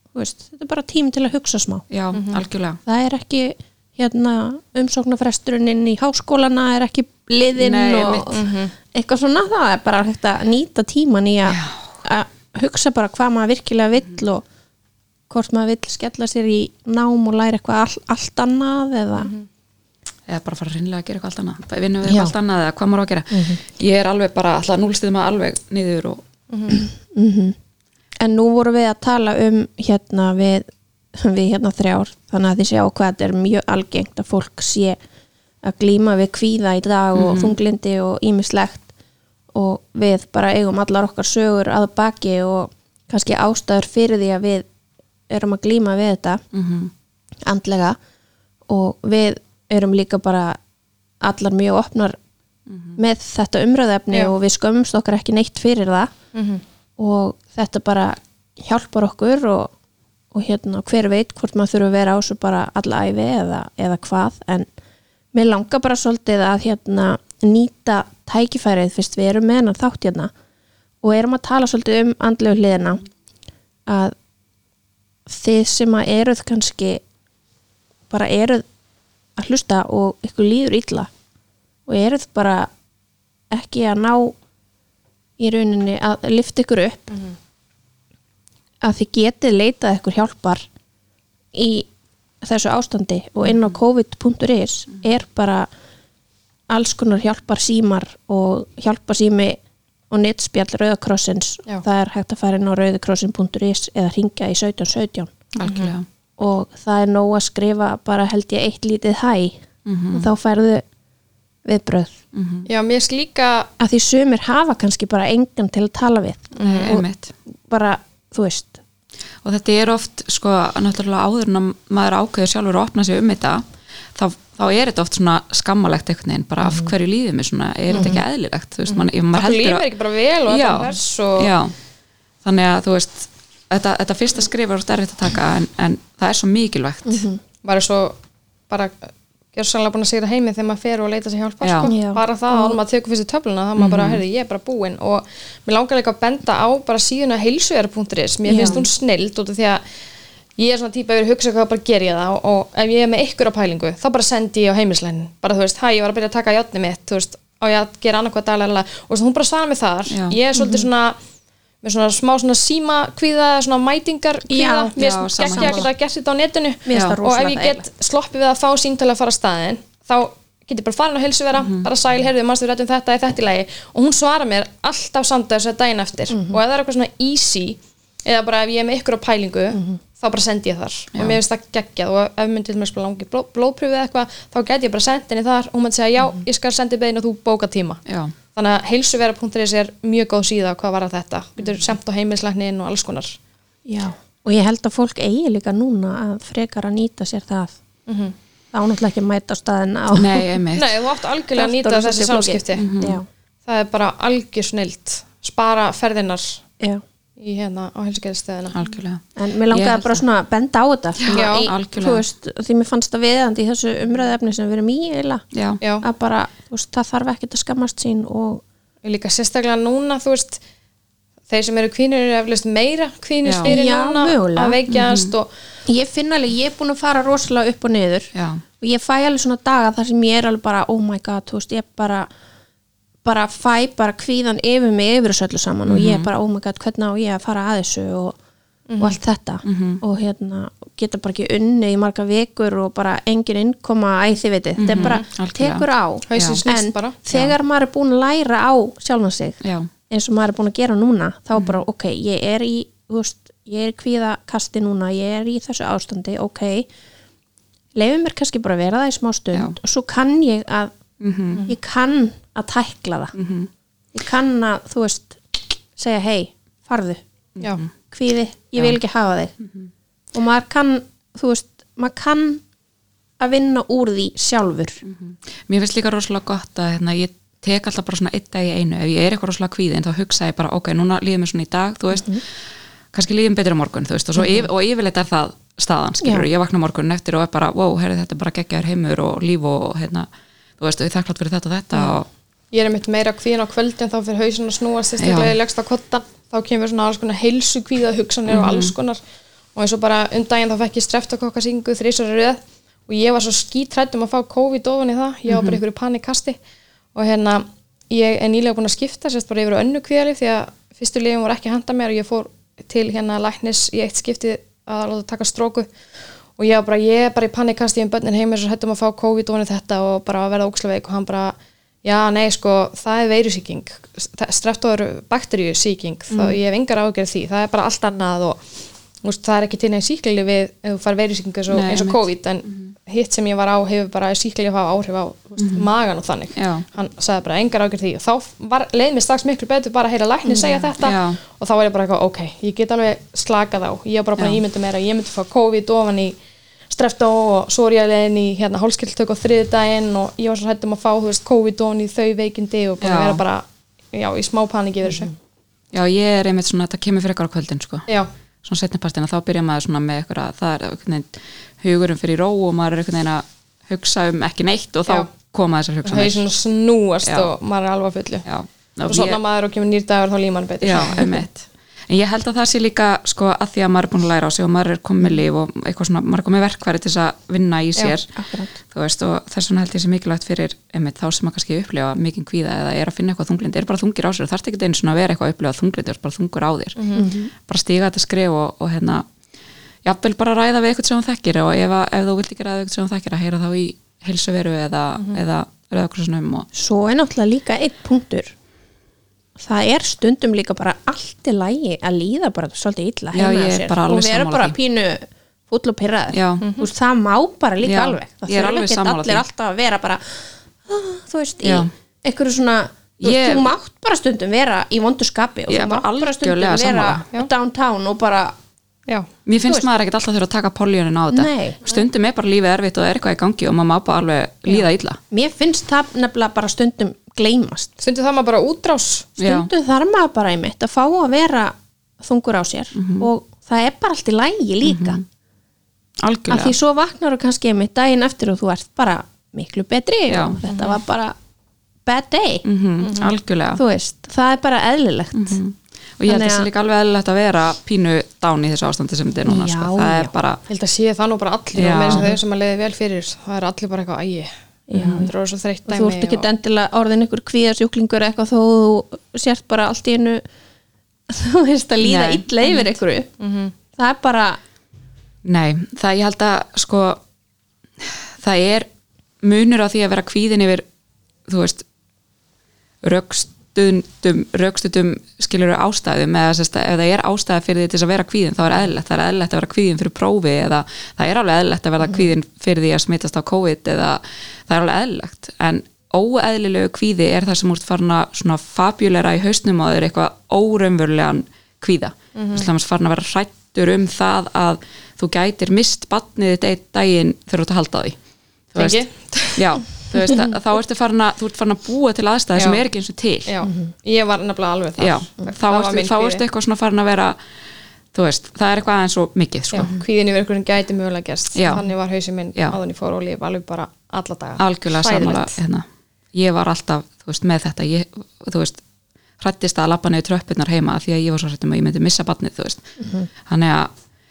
Speaker 1: þú veist, þetta er bara tíminn til að hugsa smá
Speaker 2: Mhm.
Speaker 3: já, algjörlega
Speaker 1: það er ekki hérna, umsóknarfresturinn inn í háskólana er ekki liðinn
Speaker 3: Nei,
Speaker 1: og
Speaker 3: einmitt. Mhm.
Speaker 1: eitthvað svona það er bara hægt að nýta tíman í að að hugsa bara hvað maður virkilega vill og hvort maður vill skella sér í nám og læra eitthvað all, allt annað eða
Speaker 3: Mhm. eða bara fara hreinlega að gera eitthvað allt annað bara vinna við
Speaker 1: Já.
Speaker 3: eitthvað allt annað eða hvað maður á að gera
Speaker 2: Mhm.
Speaker 3: ég er alveg bara alltaf núlstið maður alveg niður og
Speaker 1: en nú vorum við að tala um hérna við, við hérna þrjár þannig að þið sjá hvað þetta er mjög algengt að fólk sé að glíma við kvíða í dag og þunglindi og ímislegt og við bara eigum allar okkar sögur að baki og kannski ástæður fyrir því að við erum að glíma við þetta
Speaker 2: Mhm.
Speaker 1: andlega og við erum líka bara allar mjög opnar með þetta umröðefni
Speaker 2: Já.
Speaker 1: og við skömmumst okkar ekki neitt fyrir það
Speaker 2: Mhm.
Speaker 1: og þetta bara hjálpar okkur og, og hérna hver veit hvort maður þurfi að vera á þessu bara alla æfi eða, eða hvað en mér langar bara svolítið að hérna nýta tækifærið fyrst við erum með hennar þátt hérna og erum að tala svolítið um andlegu hliðina að þið sem að eruð kannski bara eruð að hlusta og ykkur líður illa og eruð bara ekki að ná í rauninni að lifta ykkur upp að þið getið leitað ykkur hjálpar í þessu ástandi og inn á covid.is er bara alls konar hjálpar símar og hjálpar sími og netspjall Rauðakrossins
Speaker 2: Já.
Speaker 1: það er hægt að fara inn á rauðakrossin.is eða ringja í 1717
Speaker 3: Mhm. algjörlega
Speaker 1: og það er nóg að skrifa bara held ég eitt lítið hæ
Speaker 2: Mhm.
Speaker 1: og þá færðu viðbröð
Speaker 2: Já, mér er líka
Speaker 1: að því sömur hafa kannski bara engan til að tala við
Speaker 2: Mm. Mhm.
Speaker 3: Nei, Eh, einmitt
Speaker 1: bara, þú veist
Speaker 3: og þetta er oft sko náttúrulega áður en að maður ákveður sjálfur að opna sig um þetta þá, þá er þetta oft svona skammalegt einhvern veginn bara
Speaker 2: Mhm.
Speaker 3: af hverju líðum við svona, er þetta ekki eðlilegt þú veist, man, ef maður
Speaker 2: Af hverju
Speaker 3: heldur
Speaker 2: Mhm. líður
Speaker 3: að-
Speaker 2: mér ekki bara vel og
Speaker 3: já,
Speaker 2: allan þess og-
Speaker 3: já, þannig að þú veist þetta, þetta fyrsta skrif er oft erfitt að taka en, en það er svo mikilvægt
Speaker 2: Mhm. bara svo bara gjörsanlega búin að segja heimi þegar maður fer og leita sér hjálpa
Speaker 3: Já.
Speaker 1: Já.
Speaker 2: sko.
Speaker 1: Mhm.
Speaker 2: bara það að maður tekur fyrstu töfluna þá maður bara, heyrðu, ég er bara búin og mér langar líka að benda á bara síðuna heilsuverð.is, mér
Speaker 1: Já.
Speaker 2: finnst hún snild út af því að ég er svona típa að vera að hugsa hvað bara ger ég það og, og ef ég er með ykkur á pælingu þá bara sendi ég á heimilislein bara þú veist, hæ, ég var að byrja að taka játni mitt þú veist, á ég að gera annað hvað daglega og svo hún bara svara mig þar,
Speaker 3: Já.
Speaker 2: ég er
Speaker 1: Mhm.
Speaker 2: svolítið svona með svona smá svona síma kvíða, svona mætingar kvíða,
Speaker 1: Já.
Speaker 2: mér
Speaker 3: Já,
Speaker 2: finnst
Speaker 3: sama,
Speaker 2: geggja að
Speaker 3: sama.
Speaker 2: geta gert þetta á
Speaker 1: Mér
Speaker 2: netinu
Speaker 1: finnst það
Speaker 2: og ef
Speaker 1: rosalega
Speaker 2: ég get sloppið við að fá síntal að fara á staðinn þá get ég bara farin á heilsu vera
Speaker 1: Mhm.
Speaker 2: bara sæl, heyrðu, mannstu við rættum þetta í þetta í lagi og hún svarar mér alltaf samt þessu daginn eftir
Speaker 1: Mhm.
Speaker 2: og ef það er eitthvað svona easy eða bara ef ég er með ykkur á pælingu
Speaker 1: Mhm.
Speaker 2: þá bara sendi ég þar og mér finnst það geggjað og ef myndi til mér spila langi bló, blóðpröfið eða eitthvað þá get ég bara sendið henni þar og hún myndi segja já,
Speaker 1: Mhm.
Speaker 2: ég skal sendi beðin og þú bóka tíma
Speaker 3: já,
Speaker 2: þannig að heilsuvera.is er mjög góð síða hvað var að þetta,
Speaker 1: Mhm.
Speaker 2: getur semt á heimilislæknin og alls konar
Speaker 1: Já. og ég held að fólk eigi líka núna að frekar að nýta sér það þá náttúrulega ekki að mæta á staðin á *laughs*
Speaker 3: nei, einmitt
Speaker 2: Mhm. Nei, þú átt algjörlega að nýta
Speaker 1: Aftur og
Speaker 2: þessi
Speaker 1: svolítið flókið. Mhm.
Speaker 2: samskipti Mhm.
Speaker 1: Já,
Speaker 2: það er bara algjör snilt spara ferðinnar
Speaker 1: já
Speaker 2: í hérna á helsugerðstöðina
Speaker 3: algjörlega
Speaker 1: En mér
Speaker 3: Ég
Speaker 1: langaði
Speaker 3: held
Speaker 1: bara svona að benda á þetta svona
Speaker 2: Já,
Speaker 1: í,
Speaker 3: algjörlega.
Speaker 1: þú veist, því mér fannst það viðandi í þessu umræðefni sem við erum í eila
Speaker 3: já,
Speaker 2: Já.
Speaker 1: að bara, þú veist, það þarf ekkert að skammast sín og
Speaker 2: og líka sérstaklega núna þú veist, þeir sem eru kvínir eru eflust meira kvínir
Speaker 3: Já.
Speaker 2: fyrir
Speaker 1: Já,
Speaker 2: núna
Speaker 1: mögulega.
Speaker 2: að veikjast og
Speaker 1: ég finn alveg, ég er búin að fara rosalega upp og niður
Speaker 3: Já.
Speaker 1: og ég fæ alveg svona daga þar sem ég er alveg bara, oh my god, þú veist, ég bara bara fæ bara kvíðan yfir mig yfir þessu öllu saman og ég
Speaker 2: Mhm.
Speaker 1: er bara, oh my god, hvernig á ég að fara að þessu og, og allt þetta
Speaker 2: Mhm.
Speaker 1: og hérna, geta bara ekki unni í marga vikur og bara engin innkoma æ, þið veitir, þetta er bara
Speaker 3: Algjörlega.
Speaker 1: tekur á
Speaker 2: Mhm. Hausinn snýst
Speaker 1: en
Speaker 2: bara.
Speaker 1: þegar maður er búin að læra á sjálfan sig
Speaker 3: já,
Speaker 1: eins og maður er búin að gera núna þá er bara ok, ég er í þú veist, ég er í kvíðakasti núna ég er í þessu ástandi, ok leifum mér kannski bara að vera það í smá stund
Speaker 3: Já.
Speaker 1: og svo kann ég að ég kann að tækla það ég kann að, þú veist segja hei, farðu
Speaker 2: já,
Speaker 1: kvíði, ég vil ekki hafa þig og maður kann, þú veist maður kann að vinna úr því sjálfur
Speaker 3: Mér finnst líka rosalega gott að hérna, ég tek alltaf bara svona eitt dag í einu ef ég er eitthvað rosalega kvíðin þá hugsa ég bara ok, núna líðum við svona í dag, þú veist
Speaker 2: Mhm.
Speaker 3: kannski líðum betur á morgun, þú veist og, svo, yfir, og yfirleitt er það staðan, skilur ég vakna morgun eftir og er bara, wow, herri, þetta er bara geggjaður heimur og líf og hérna þú veist, og ég þakklátt fyrir þetta og þetta og
Speaker 2: ég er mitt meira kvíðin á kvöldin þá fyrir hausin að snúa sérstaklega
Speaker 3: Já.
Speaker 2: í legsta kotta þá kemur svona alls konar heilsu hugsanir og alls konar og eins og bara um daginn þá fekk ég streftakokkasingu þrísar röð og ég var svo skítrætt um að fá COVID ofan í það, ég var bara ykkur í panikkasti og hérna, ég er nýlega búin að skipta sérst bara yfir á önnu kvíðalif því að fyrstu lifum voru ekki að handa mér og ég fór til hérna læknis í eitt skipti að láta taka stróku og ég var bara, ég er bara í panikkasti um börnin heimir svo hættum að fá COVID ofan í þetta og bara að verða óksleveik og hann bara já, nei, sko, það er veirusíking streptóður bakteríusíking þá
Speaker 3: Mm.
Speaker 2: ég hef engar ágjörð því, það er bara allt annað og þú veist, það er ekki til neins síklili við ef þú far veirusíking eins og,
Speaker 3: Nei,
Speaker 2: eins og
Speaker 3: einmitt. Mhm.
Speaker 2: COVID en hitt sem ég var á hefur bara síklili að hafa áhrif á þú veist, magan og þannig
Speaker 3: Já.
Speaker 2: hann sagði bara engar ágjörð því og þá var, leið mér strax miklu betur bara að heyra lækni segja þetta
Speaker 3: Mm. Já.
Speaker 2: og þá var ég bara eitthvað, ok, ég get alveg slakað á ég var bara búin að
Speaker 3: Já.
Speaker 2: ímynda mér að ég myndi fá COVID ofan í strefta og sórialegin í hérna hálskiltök á þriðdægin og ég var svo hættum að fá þú veist, COVID ofan í þau veikindi og bara
Speaker 3: Já.
Speaker 2: vera bara já, í smá paningi yfir þessu
Speaker 3: Já, ég er einmitt svona, það kemur fyrir eitthvað á kvöldin sko.
Speaker 2: já,
Speaker 3: svona setnapartina, þá byrja maður svona með eitthvað að það er einhvern veginn hugurum fyrir í ró og maður er einhvern veginn að hugsa um ekki neitt og þá
Speaker 2: Já.
Speaker 3: koma þessar
Speaker 2: það er
Speaker 3: hugsanir
Speaker 2: svona snúast
Speaker 3: Já.
Speaker 2: og maður er alveg að fullu
Speaker 3: Já,
Speaker 2: og svona maður og kemur nýr dagur þá líman betur
Speaker 3: Já, einmitt. En ég held að það sé líka sko að því að maður er búin að læra á sig og maður er komið líf og eitthvað svona, maður er komið verkværi til þess að vinna í sér,
Speaker 1: akkurat.
Speaker 3: þú veist, og þess vegna held ég sé mikilvægt fyrir einmitt þá sem maður kannski upplifa mikinn kvíða eða er að finna eitthvað þunglind, er bara þungir á sér, þarf ekki einu svona að vera eitthvað að upplifa þunglind, er bara þungur á þér, bara stíga þetta skrif og, og hérna, jafnvel bara ræða við eitthvað sem þú þekkir og ef, að- ef þú vilt ekki ræða við eitthvað sem þú þekkir að heyra þá í heilsuveru eða, eða rauðakrossinum um og
Speaker 1: Svo er náttúrulega líka einn punktur Það er stundum líka bara allt í lægi að líða bara svolítið illa
Speaker 3: Já,
Speaker 1: heima
Speaker 3: ég
Speaker 1: hjá
Speaker 3: er
Speaker 1: sér.
Speaker 3: bara alveg
Speaker 1: og við erum
Speaker 3: sammála
Speaker 1: bara
Speaker 3: því.
Speaker 1: pínu fúll og pyrraður
Speaker 3: Já.
Speaker 1: veist, það má bara líka
Speaker 3: Já,
Speaker 1: alveg það
Speaker 3: ég er
Speaker 1: þurfa
Speaker 3: alveg
Speaker 1: ekkert
Speaker 3: sammála
Speaker 1: allir
Speaker 3: því.
Speaker 1: alltaf að vera bara "Ah," þú veist, í
Speaker 3: Já.
Speaker 1: einhverju svona þú,
Speaker 3: Ég-
Speaker 1: veist, þú mátt bara stundum vera í vondurskapi og
Speaker 3: Ég
Speaker 1: þú
Speaker 3: er bara
Speaker 1: mátt bara stundum
Speaker 3: algjörlega
Speaker 1: vera
Speaker 3: sammála.
Speaker 2: Já.
Speaker 1: downtown og bara
Speaker 2: já,
Speaker 3: Mér finnst maður ekkert alltaf þurfa að taka poljónin á þetta
Speaker 1: Nei.
Speaker 3: Stundum er bara lífið erfitt og það er eitthvað í gangi og maður má bara alveg líða illa
Speaker 1: mér finnst það nefnilega bara stundum gleymast
Speaker 2: stundu það maður bara útrás
Speaker 1: stundum þarf maður bara einmitt að fá að vera þungur á sér
Speaker 3: Mhm.
Speaker 1: og það er bara allt í lægi líka af því
Speaker 3: Algjörlega
Speaker 1: svo vaknar og kannski einmitt daginn eftir og þú ert bara miklu betri
Speaker 3: Já.
Speaker 1: og þetta var bara bad day,
Speaker 3: mm Algjörlega
Speaker 1: Mhm. þú veist það er bara eðlilegt
Speaker 3: Mhm. Og ég held
Speaker 1: Þannig
Speaker 3: þessi
Speaker 1: að-
Speaker 3: líka alveg eðlilegt að vera pínu dán í þessu ástandi sem þetta er núna sko.
Speaker 1: Já, já.
Speaker 3: Það er bara
Speaker 2: Ég held að sé það nú bara allir
Speaker 3: Já.
Speaker 2: og með þess að þau sem að leiði vel fyrir það er allir bara eitthvað ægi það er svo þreytt
Speaker 1: og þú ert
Speaker 2: dæmi
Speaker 1: ekki endilega orðin ykkur kvíðasjúklingur eða eitthvað þó þú sért bara allt í einu *laughs* þú veist að líða
Speaker 3: Nei,
Speaker 1: illa yfir ykkur það er bara
Speaker 3: Nei, það ég held að sko það er munur á því að vera kvíðin yfir þú veist rökstundum, rökstundum skilur ástæðum eða sérst, ef það er ástæða fyrir því til þess að vera kvíðin þá er eðlilegt, það er eðlilegt að vera kvíðin fyrir prófi eða það er alveg eðlilegt að verða kvíðin fyrir því að smitast á COVID eða það er alveg eðlilegt en óeðlilegu kvíði er það sem úr farin að svona fabjulera í hausnum á þér eitthvað óraunverulegan kvíða mm -hmm. þannig að farin að vera hrættur um það að þú gætir mist batnið þitt einn daginn þegar þú ert að halda á því Þú
Speaker 2: Tengi.
Speaker 3: já, þú veist, að, þá ertu farin að þú ert farin að búa til aðstæði
Speaker 2: Mhm. Já.
Speaker 3: sem er ekki eins og til
Speaker 2: Já, ég var nefnilega alveg þar
Speaker 3: Mhm. Já, þá
Speaker 2: Það var
Speaker 3: ertu,
Speaker 2: minn
Speaker 3: þá
Speaker 2: kvíði.
Speaker 3: ertu eitthvað svona farin að vera þú veist, það er eitthvað aðeins og mikið
Speaker 2: Já,
Speaker 3: sko.
Speaker 2: kvíðin yfir einhverjum gæti mögulega gerst
Speaker 3: Já.
Speaker 2: þannig var hausinn minn
Speaker 3: Já.
Speaker 2: áðan í fór og líf alveg bara alla daga
Speaker 3: algjörlega sammála
Speaker 2: Hræðilegt.
Speaker 3: hérna. ég var alltaf, þú veist, með þetta ég, þú veist, hrættist að lappa niður tröppurnar heima af því að ég var svo hrættum að ég myndi missa barnið, þú veist,
Speaker 2: Mhm.
Speaker 3: þannig að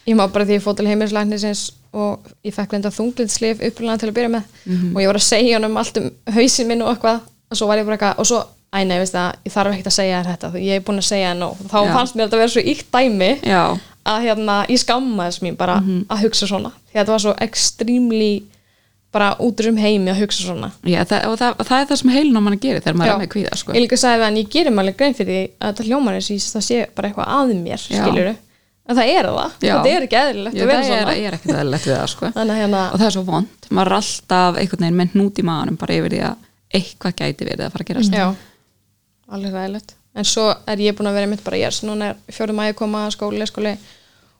Speaker 2: ég má bara því ég fór til heimilislæknisins og ég fekk reynda þunglinslif upprýðan til að byrja með
Speaker 3: Mhm.
Speaker 2: og ég var að segja hann um allt um hausinn minn og eitthvað og svo var ég bara eitthvað og svo, æ nei, veist það, ég þarf ekkert að segja þér þetta ég er búin að segja það nóg þá
Speaker 3: Já.
Speaker 2: fannst mér þetta að vera svo íkt dæmi
Speaker 3: já, Mhm.
Speaker 2: að hérna, ég skammaðis mín bara að hugsa svona því að þetta var svo extremely bara út um heimi að hugsa svona
Speaker 3: já það, og það, það er það sem heilin á manni gerir þegar maður
Speaker 2: Já.
Speaker 3: er með kvíða, sko
Speaker 2: ég líka sagði við hann, ég gerir alveg grein fyrir því að þetta hljómar eins og ég- það sé bara eitthvað að mér
Speaker 3: Já.
Speaker 2: skilur en það er það,
Speaker 3: Já.
Speaker 2: þetta er ekki eðlilegt
Speaker 3: Já,
Speaker 2: að vera
Speaker 3: það
Speaker 2: svona
Speaker 3: er, er ekkert eðlilegt við það,
Speaker 2: *laughs*
Speaker 3: sko
Speaker 2: þannig að hérna,
Speaker 3: og það er svo vond, maður er alltaf einhvern veginn með hnút í maðanum bara yfir því að eitthvað gæti verið að fara að gerast
Speaker 2: já alveg ræðilegt, en svo er ég búin að vera mitt bara, yes, núna er fjórum að ég koma að skóli, skóli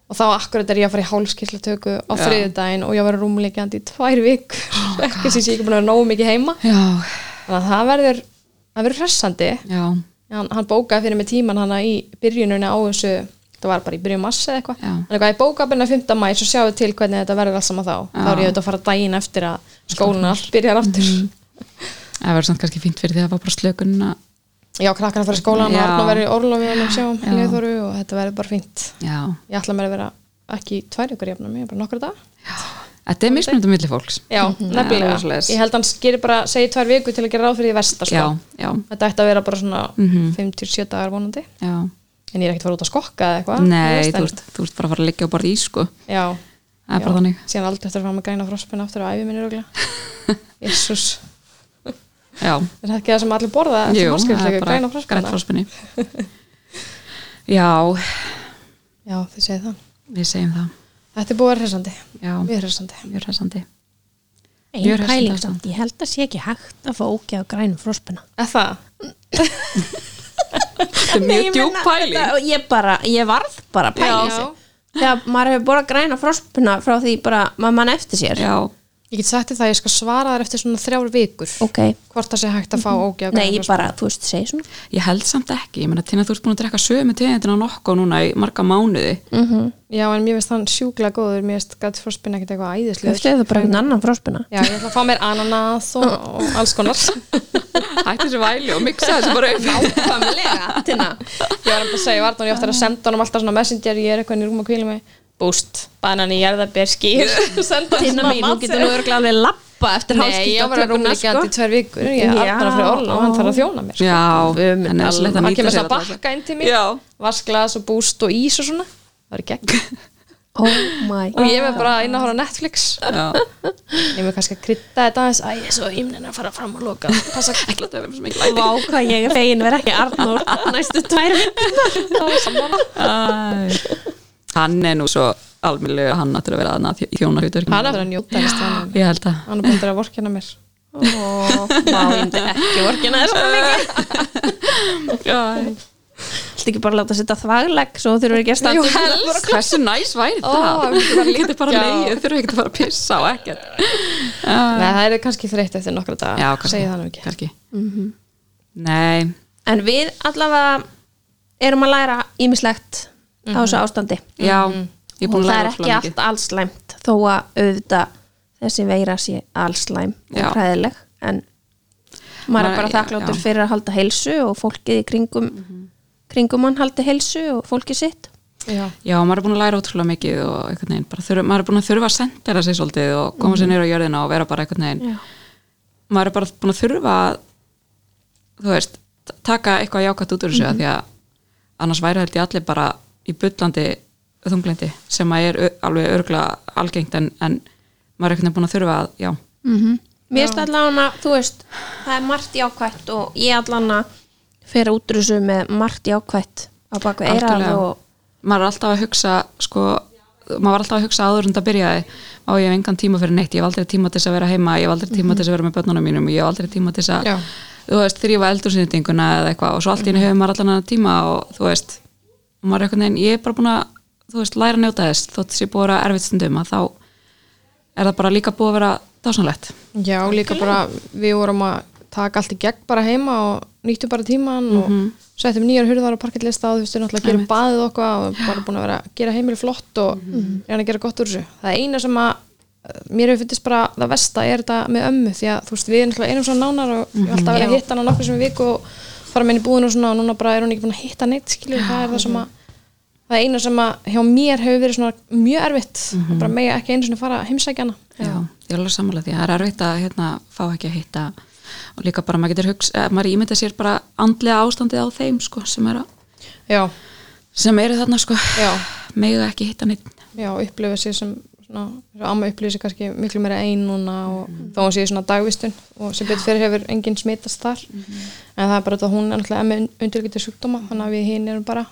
Speaker 2: og þá akkurat er ég að fara í hálskýrslatöku á
Speaker 3: Já. Oh,
Speaker 2: þriðudaginn og ég var rúmleikjandi í tvær vikur *laughs* ekki sem ég ekki búin að vera nógu mikið heima
Speaker 3: já,
Speaker 2: þannig að það verður, það verður hressandi
Speaker 3: já,
Speaker 2: hann, hann bókaði fyrir mig tíman hana í byrjununa á þessu það var bara í byrjun massa eða eitthvað
Speaker 3: Já.
Speaker 2: hann eitthvað, ég bókaði byrjun að 5. mæ svo sjáum við til hvernig þetta verður alls saman þá þá er ég auðvitað að fara daginn eftir að skólinu allt byrjar aftur
Speaker 3: Mm. það verður samt kannski fínt fyrir því að það var bara slökunna
Speaker 2: já, krakkar að fara í skólan og
Speaker 3: Já.
Speaker 2: Arna verður í orlofi og við sjáum
Speaker 3: Já.
Speaker 2: Leifþóru og þetta verður bara fínt
Speaker 3: já,
Speaker 2: ég ætla mér að vera ekki í tvær ykkur jafnum, ég er bara nokkru dag
Speaker 3: Þetta er mismunandi milli fólks.
Speaker 2: Mhm. Já, nefnilega.
Speaker 3: Það er svoleiðis.
Speaker 2: Ég held hans gerir bara, segi tvær viku til að gera ráð fyrir því versta, sko.
Speaker 3: Já, Mhm. já,
Speaker 2: Þetta ætti að vera bara svona 57 dagar vonandi.
Speaker 3: já.
Speaker 2: En ég er ekkert að fara út að skokka eða eitthvað.
Speaker 3: Nei,
Speaker 2: veist,
Speaker 3: þú
Speaker 2: en-
Speaker 3: ert, þú ert bara að fara að liggja og borða í sko.
Speaker 2: Já.
Speaker 3: Það er
Speaker 2: já.
Speaker 3: bara þannig.
Speaker 2: Síðan aldrei eftir að fara með græna frospina aftur á æfi minni röglega. *laughs* Jésús.
Speaker 3: Já,
Speaker 2: Er það ekki það sem allir borða?
Speaker 3: Jú, það er
Speaker 2: marskrifslega,
Speaker 3: bara
Speaker 2: græna
Speaker 3: grænt
Speaker 2: frospina.
Speaker 3: frospinni. já,
Speaker 2: Já, þið segið það.
Speaker 3: við segjum það.
Speaker 2: Þetta er búið að vera hressandi.
Speaker 3: Já,
Speaker 2: Mjög hressandi.
Speaker 3: mjög hressandi. Mjög
Speaker 1: Einn
Speaker 3: hressandi
Speaker 1: pæling
Speaker 3: ástand.
Speaker 1: samt, ég held að sé ekki hægt að fá ógeð á grænum fróspuna.
Speaker 2: Er það?
Speaker 3: Þetta er mjög djúb pæling.
Speaker 1: Ég bara, ég varð bara pæling
Speaker 2: Já.
Speaker 1: þessu. Þegar maður hefur borðað græna fróspuna frá því bara maður mann eftir sér.
Speaker 3: Já,
Speaker 2: Ég get sagt þér það að ég skal svara þér eftir svona þrjár vikur.
Speaker 1: Ok,
Speaker 2: Hvort það sé hægt að fá ógjáð
Speaker 1: nei, ég bara, þú veist, segi svona.
Speaker 3: ég held samt ekki. Ég meina, Tina, þú ert búin að drekka sömu tegindina nokkuð núna í marga mánuði.
Speaker 1: Mhm.
Speaker 2: Já, en mér finnst hann sjúklega góður, mér finnst grænt frospina ekkert eitthvað æðislega.
Speaker 1: Höfstu þau bara einhvern annan fróspuna?
Speaker 2: Já, ég ætla að fá mér ananas og,
Speaker 3: *laughs*
Speaker 2: og alls konar.
Speaker 3: Hætti þessu væli og miksa þessu bara upp.
Speaker 1: *laughs*
Speaker 2: Nákvæmlega, Tina. Ég var um að segja, varðan ég átti að senda honum alltaf svona messenger, ég er eitthvað inn í rúm og kvílu mig. Búst, banan í jarðabér skýr. senda hann
Speaker 1: Tinna
Speaker 2: svona
Speaker 1: mín, hún getur nú
Speaker 2: matsel.
Speaker 1: örglega alveg lappa eftir sko.
Speaker 2: Nei, ég var
Speaker 1: hálskiptatökuna,
Speaker 2: rúmleikjandi í tvær vikur, sko. ég er
Speaker 1: Já.
Speaker 2: alltaf fyrir orla og hann þarf að þjóna mér.
Speaker 3: Já,
Speaker 1: Guð minn
Speaker 3: en
Speaker 1: almáttugur.
Speaker 3: það
Speaker 2: Hann kemur svo
Speaker 3: nýta
Speaker 2: að
Speaker 3: sér alla
Speaker 2: bakka inn til
Speaker 3: þessa-
Speaker 2: mín,
Speaker 3: Já,
Speaker 2: vasklas og búst og ís og svona. Það var ekki
Speaker 1: Oh
Speaker 3: Ah.
Speaker 1: my
Speaker 2: Og ég er bara inn að horfa á Netflix.
Speaker 3: já.
Speaker 2: Ég með kannski að krytta þetta aðeins Æ, ég er svo himnin að fara fram og loka Passa
Speaker 3: Ekki láta vera með svo mikið
Speaker 1: Vá, hvað ég er fegin vera ekki Arnór næstu tvær
Speaker 2: kæta
Speaker 3: læti. Hann er nú svo almennilegu hann áttur að vera aðna þjónarhutur.
Speaker 2: Hann er að njóta þess þannig
Speaker 3: Ég held að.
Speaker 2: Hann er búin að vorkina mér
Speaker 1: Ó, Vá, ég myndi ekki vorkina þess að mikið
Speaker 3: *laughs* Já,
Speaker 1: Þetta ekki bara láta setja þvaglegg svo þurfum við ekki að standa
Speaker 2: Jú,
Speaker 1: upp.
Speaker 2: helst.
Speaker 3: Hversu næs væri
Speaker 2: Ó,
Speaker 3: það?
Speaker 2: við getum bara
Speaker 3: Getur bara
Speaker 2: liggjað.
Speaker 3: leið, þurfum ekki að fara að pissa á ekkert.
Speaker 2: Nei, það er kannski þreytt eftir nokkra daga
Speaker 3: Ah. Já, kannski.
Speaker 2: Segið það nú ekki Mhm.
Speaker 3: Kannski. Nei,
Speaker 1: En við allavega erum að læra ímislegt á þessu ástandi
Speaker 3: já, Mhm.
Speaker 2: Mhm.
Speaker 3: ég er búin
Speaker 1: og það
Speaker 3: að
Speaker 1: er
Speaker 3: læra
Speaker 1: ekki
Speaker 3: ótrúlega mikið.
Speaker 1: allt allslæmt þó að auðvita þessi veira sé allslæm
Speaker 3: Já.
Speaker 1: og hræðileg en maður
Speaker 3: Maður-
Speaker 1: er bara
Speaker 3: já,
Speaker 1: þakkláttur
Speaker 3: já. Mhm.
Speaker 1: fyrir að halda heilsu og fólkið í kringum kringum hann haldi heilsu og fólkið sitt
Speaker 2: Já,
Speaker 3: Já, maður er búin að læra ótrúlega mikið og einhvern veginn, bara þurfa, maður er búin að þurfa að sendera sig svolítið og koma sér neyra á jörðina og vera bara einhvern veginn, maður er bara búin að þurfa að, þú veist, t- taka eitthvað jákvæmt út úr þessu mm því að annars væri held ég allir bara í bullandi þunglindi sem að er ö- alveg örgla algengt en, en maður er einhvern veginn búin að þurfa að, já,
Speaker 1: Mér finnst allan að, þú veist, það er margt jákvætt og ég allan að fyrir útrúsu með margt jákvætt á bakvið eirað
Speaker 3: Algjörlega.
Speaker 1: og
Speaker 3: maður er alltaf að hugsa sko, maður var alltaf að hugsa áður en það byrjaði á ég hef engan tíma fyrir neitt ég hef aldrei tíma til þess að vera heima, ég hef aldrei tíma til þess að vera með börnunum mínum, ég hef aldrei tíma til þess að
Speaker 2: Já.
Speaker 3: þú veist, þrýfa eldursyndinguna eða eitthvað og svo allt í henni hefur maður allan að tíma og þú veist, og maður er eitthvað neginn ég er bara búin að, þú veist, læra að njóta þess þótt þessi búið að vera erfitt stundum að þá er það bara líka búið að vera dásanlegt
Speaker 2: Já líka bara við vorum að taka allt í gegn bara heima og nýttum bara tíman og settum nýjar hurðar og parkettlista og þú veist, við náttúrulega gerum baðið okkur og bara búin að vera að gera heimili flott og mm að gera gott úr þessu. Það eina sem að eh, mér hefur fundist bara það versta er þetta með ömmu því að þú veist, við náttúrulega erum svona nánar og ég hef alltaf verið að hitta hana nokkur sem við viku og fara með henni í búðin og svona og núna bara er hún ekki búin að hitta neitt skilur, það er það sem að það eina sem að hjá mér hefur verið svona mjög erfitt mm bara mega ekki einu svona fara heimsækjana
Speaker 3: Já, ég er alveg sammála því. Það er erfitt að hérna, fá ekki að hitta og líka bara maður getur hugsa, eh, maður ímynda sér bara andlega ástandið á þeim sko, sem, er að,
Speaker 2: Já,
Speaker 3: sem eru þarna sko,
Speaker 2: Já.
Speaker 3: mega ekki hitta neitt.
Speaker 2: já, upplifa sér sem svona, eins og amma upplifa sér kannski miklu meira ein núna og
Speaker 3: Mhm.
Speaker 2: þá hún sé í svona dagvistun og sem betur fyrir hefur enginn smitast þar
Speaker 3: Mhm.
Speaker 2: en það er bara þetta að hún er náttúrulega með undirgætið sjúkdóma þannig að við hinn erum bara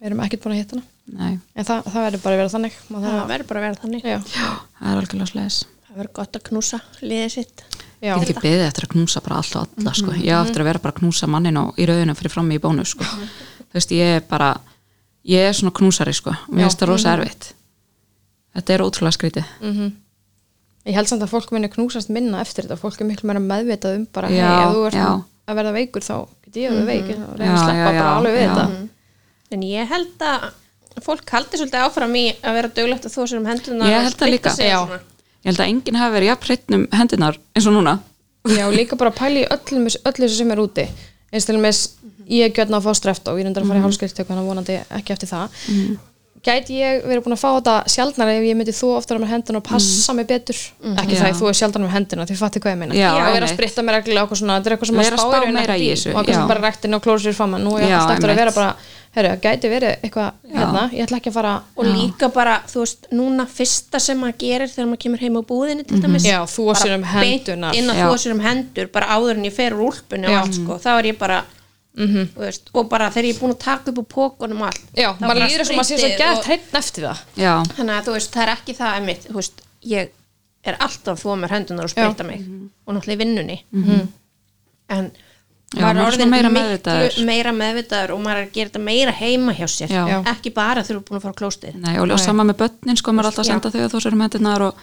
Speaker 2: við erum ekkert búin að hitta hana
Speaker 3: Nei,
Speaker 2: en það, það verður bara að vera þannig Maður
Speaker 1: það
Speaker 2: þarf að-
Speaker 1: verður bara að vera þannig.
Speaker 2: já,
Speaker 3: það er algjörlega slegis.
Speaker 1: Það verður gott að knúsa liðið sitt.
Speaker 2: já,
Speaker 3: Ég get ekki beðið eftir að knúsa bara allt og alla sko. Ég á eftir að vera bara að knúsa mannin og í rauðinu fyrir frammi í bónu sko. Þú veist, ég er bara, ég er svona knúsari sko. Mér
Speaker 2: Já.
Speaker 3: finnst það rosa erfitt. Þetta er ótrúlega skrítið.
Speaker 2: ég held samt að fólk minni knúsast minna eftir þetta fólk er miklu meira meðvitað um bara
Speaker 3: Já,
Speaker 2: hei, ef þú ert
Speaker 3: já. Mhm.
Speaker 2: að verða veikur þá get ég að verða veik og reyna að
Speaker 3: Já,
Speaker 2: sleppa
Speaker 3: já, já,
Speaker 2: bara alveg við
Speaker 3: já.
Speaker 2: þetta
Speaker 1: En ég held að fólk haldi svolítið áfram í að vera duglegt að þú sér um hendurna
Speaker 3: Ég
Speaker 1: og
Speaker 3: held það
Speaker 1: spritta
Speaker 3: líka.
Speaker 1: sig
Speaker 2: Já.
Speaker 1: svona.
Speaker 3: Ég held að enginn hafi verið jafn hreitnum hendunar eins og núna.
Speaker 2: Já, og líka bara pæli í öllum, öllu þessu sem er úti
Speaker 3: Mhm.
Speaker 2: eins til og með ég er gjörna að fá streft og ég er undar að fara í hálskirktöku hann vonandi ekki eftir það gæti ég verið búin að fá þetta sjaldnar ef ég myndi þú oftar með hendina og passa mig betur ekki
Speaker 3: Mhm. Já.
Speaker 2: það ég þú er sjaldnar með hendina, þið fattir hvað ég meina
Speaker 3: Já,
Speaker 2: og vera að
Speaker 3: einmitt.
Speaker 2: spritta mig reglulega okkur svona þetta er eitthvað sem
Speaker 3: Vera að spá
Speaker 2: maður spáir
Speaker 3: meira í þessu,
Speaker 2: og kannski
Speaker 3: já.
Speaker 2: bara rektin og klóra sér fram en nú er
Speaker 3: Já,
Speaker 2: alltaf eftir að
Speaker 3: einmitt.
Speaker 2: vera bara herru, gæti verið eitthvað hérna ég ætla ekki að fara
Speaker 1: og líka bara, þú veist, núna fyrsta sem maður gerir þegar maður kemur heim á búðinni til dæmis,
Speaker 2: Já, þvo
Speaker 1: bara
Speaker 2: sér um
Speaker 1: beint
Speaker 2: hendurnar.
Speaker 1: inn að
Speaker 3: Já.
Speaker 1: þú sér um hendur, bara áður en ég fer úr úlpunni og
Speaker 2: Já. Mhm.
Speaker 1: allt, sko, þá er ég bara þú veist, og bara þegar ég er búin að taka upp úr pókunum og allt,
Speaker 2: já,
Speaker 1: þá
Speaker 2: maður
Speaker 1: bara
Speaker 2: líður sem maður sé svo
Speaker 1: skrítið
Speaker 2: gætt
Speaker 1: og-
Speaker 2: hreitn eftir það
Speaker 3: já,
Speaker 1: þannig að þú veist, það er ekki það einmitt, þú veist, ég er alltaf þú mér hendunar og sprita mig og náttúrulega í vinnunni
Speaker 2: Mhm.
Speaker 1: -hmm. en
Speaker 3: Já,
Speaker 1: maður
Speaker 3: maður
Speaker 1: er
Speaker 2: sko
Speaker 3: er
Speaker 1: orðin
Speaker 3: svona meira
Speaker 1: miklu
Speaker 3: meðvitaður.
Speaker 1: meira meðvitaður og maður er að gera þetta meira heima hjá sér
Speaker 3: Já. Já.
Speaker 1: ekki bara þegar þú er búin að fara á klóstið
Speaker 3: nei, og, og sama með börnin sko, maður er alltaf að senda þau að þú sér um hendunar og,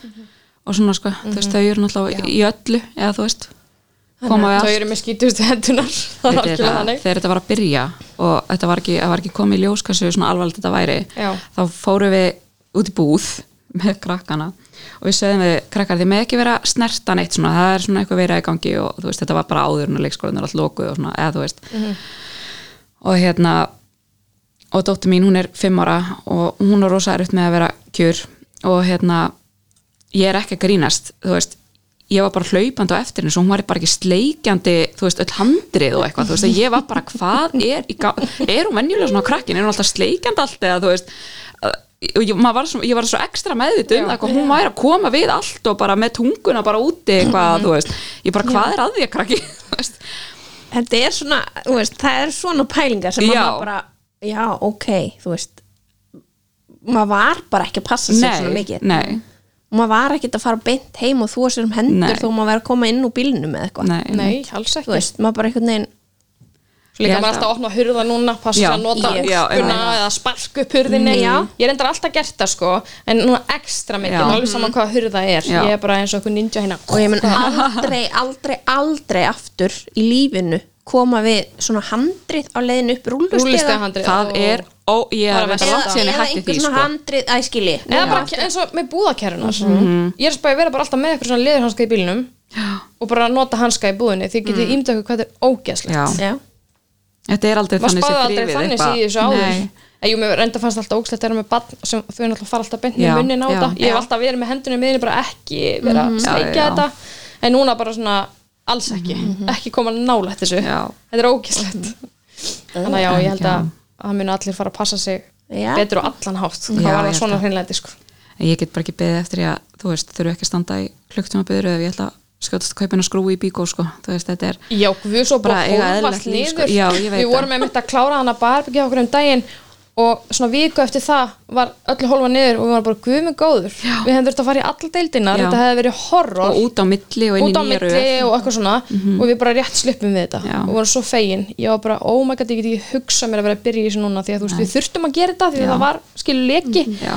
Speaker 3: og svona sko, þú veist, þau eru náttúrulega í öllu, eða þú veist koma við
Speaker 2: þau
Speaker 3: allt
Speaker 2: eru með skítust hendunar *laughs* það er
Speaker 3: Þetta er
Speaker 2: algjörlega
Speaker 3: það,
Speaker 2: þannig
Speaker 3: þegar þetta var að byrja og þetta var ekki, það var ekki komið í ljós hversu svona alvarlegt þetta væri
Speaker 2: Já.
Speaker 3: þá fórum við út í búð með krakkana og við segðum við krakkar þið með ekki vera að snerta neitt svona, það er svona eitthvað verið í gangi og þú veist þetta var bara áður en leikskólan er alltaf lokuð og svona, eða þú veist
Speaker 2: Mhm.
Speaker 3: og hérna og dóttir mín hún er fimm ára og hún er rosa erut með að vera kjur og hérna ég er ekki að grínast, þú veist ég var bara hlaupandi á eftir henni svo hún var bara ekki sleikjandi, þú veist, öll handrið og eitthvað, þú veist, að ég var bara hvað er, í ga- er hún venjulega svona á krakkin er hún alltaf sleikjandi allt eða, þú veist og ég maður var svo, ég var svo ekstra meðvituð um það hvað hún væri að koma við allt og bara með tunguna bara úti eitthvað, þú veist ég bara, hvað er að því að krakki, *laughs* þú veist
Speaker 1: þetta er svona, þú veist, það er svona pælingar sem
Speaker 3: Já.
Speaker 1: maður bara, já, ok þú veist maður var bara ekki að passa sér svona mikið
Speaker 3: nei,
Speaker 1: maður var ekki að fara beint heim og þú sér um hendur
Speaker 3: Nei.
Speaker 1: þó maður væri að koma inn úr bílnum eða eitthvað
Speaker 3: nei,
Speaker 2: nei, alls
Speaker 1: þú
Speaker 2: ekki
Speaker 1: veist, maður bara einhvern veginn
Speaker 2: Svo líka
Speaker 3: Ég held
Speaker 2: maður alltaf að opna hurða núna, passa
Speaker 3: Já,
Speaker 2: að nota
Speaker 3: ég- já,
Speaker 2: hurðuna
Speaker 3: einmitt.
Speaker 2: eða spark upp hurðinni.
Speaker 1: Mm, já.
Speaker 2: Ég er endar alltaf gert það sko, en núna ekstra mikið,
Speaker 3: Já.
Speaker 2: maður alveg saman hvað hurða er.
Speaker 3: Já.
Speaker 2: Ég er bara eins og okkur ninja hérna.
Speaker 1: og
Speaker 3: *laughs*
Speaker 1: ég mun aldrei, aldrei, aldrei aftur í lífinu koma við svona handrið á leiðinu upp
Speaker 2: Rúllistiga
Speaker 1: rúllustiga
Speaker 2: handrið.
Speaker 3: það er, ó, ég
Speaker 2: Bara
Speaker 3: er
Speaker 2: versta.
Speaker 3: þetta langt síðan ég
Speaker 1: eða
Speaker 3: hætti
Speaker 1: einhver
Speaker 3: því,
Speaker 1: svona
Speaker 3: sko
Speaker 1: handrið æskili
Speaker 2: Eða bara ke- eins og með búðakerrunar.
Speaker 3: Mhm.
Speaker 2: Ég er spæði að vera bara alltaf með eitthvað svona leðurhanska í bílnum og bara nota hanska í búðinni. Þið getið mm. ímda okkur hvað þetta er ógeðslegt.
Speaker 3: já,
Speaker 1: já,
Speaker 3: þetta er aldrei
Speaker 2: Maður
Speaker 3: þannig
Speaker 2: spáði
Speaker 3: sér
Speaker 2: aldrei
Speaker 3: þrifið
Speaker 2: þannig síði þessu
Speaker 3: Nei.
Speaker 2: áður. En jú, mér reynda fannst alltaf ógslegt að vera með bann sem þau náttúrulega fara alltaf beint með
Speaker 3: Já,
Speaker 2: munnin á
Speaker 3: já. Mhm.
Speaker 2: þetta. Ég hef alltaf verið með hendunum miðinni bara ekki vera að
Speaker 3: Já,
Speaker 2: sleikja
Speaker 3: já. Mhm,
Speaker 2: þetta. En núna bara svona alls ekki, ekki koma nálætt þessu.
Speaker 3: Já.
Speaker 2: Þetta er ógæslegt. Þannig að já, ég held að að það munu allir fara að passa sig
Speaker 1: Já.
Speaker 2: betur og allan hátt. Hvað
Speaker 3: Já,
Speaker 2: var
Speaker 3: ég
Speaker 2: það
Speaker 3: held
Speaker 2: svona
Speaker 3: að.
Speaker 2: hreinlega sko?
Speaker 3: En ég get bara ekki beðið eftir ég að þú veist, þurfu ekki að standa í klukktum að beður ef ég ætla að skjótast að kaupa hennar skrúi í bíkó sko, þú veist, þetta er
Speaker 2: Já, við svo bara
Speaker 3: Bara eiga
Speaker 2: hófast
Speaker 3: eðlilegt líf, sko.
Speaker 2: niður.
Speaker 3: Já, ég veit
Speaker 2: við vorum með mitt að klára hana barbyggja okkur um daginn og svona viku eftir það var öllu hólfa niður og við varum bara gufum góður. Við hefum þurft að fara í alla deildina,
Speaker 3: Já.
Speaker 2: þetta hefði verið horror.
Speaker 3: og út á milli og inn í
Speaker 2: út á
Speaker 3: nýja
Speaker 2: milli og eitthvað svona og við bara rétt sluppum við þetta
Speaker 3: Já.
Speaker 2: og vorum svo fegin, ég var bara, oh my god, ég get ekki hugsað mér að vera að byrja í þessu núna því að þú veist, við þurftum að gera þetta því að
Speaker 3: Já. Mhm,
Speaker 2: það var skilu leki
Speaker 3: Já.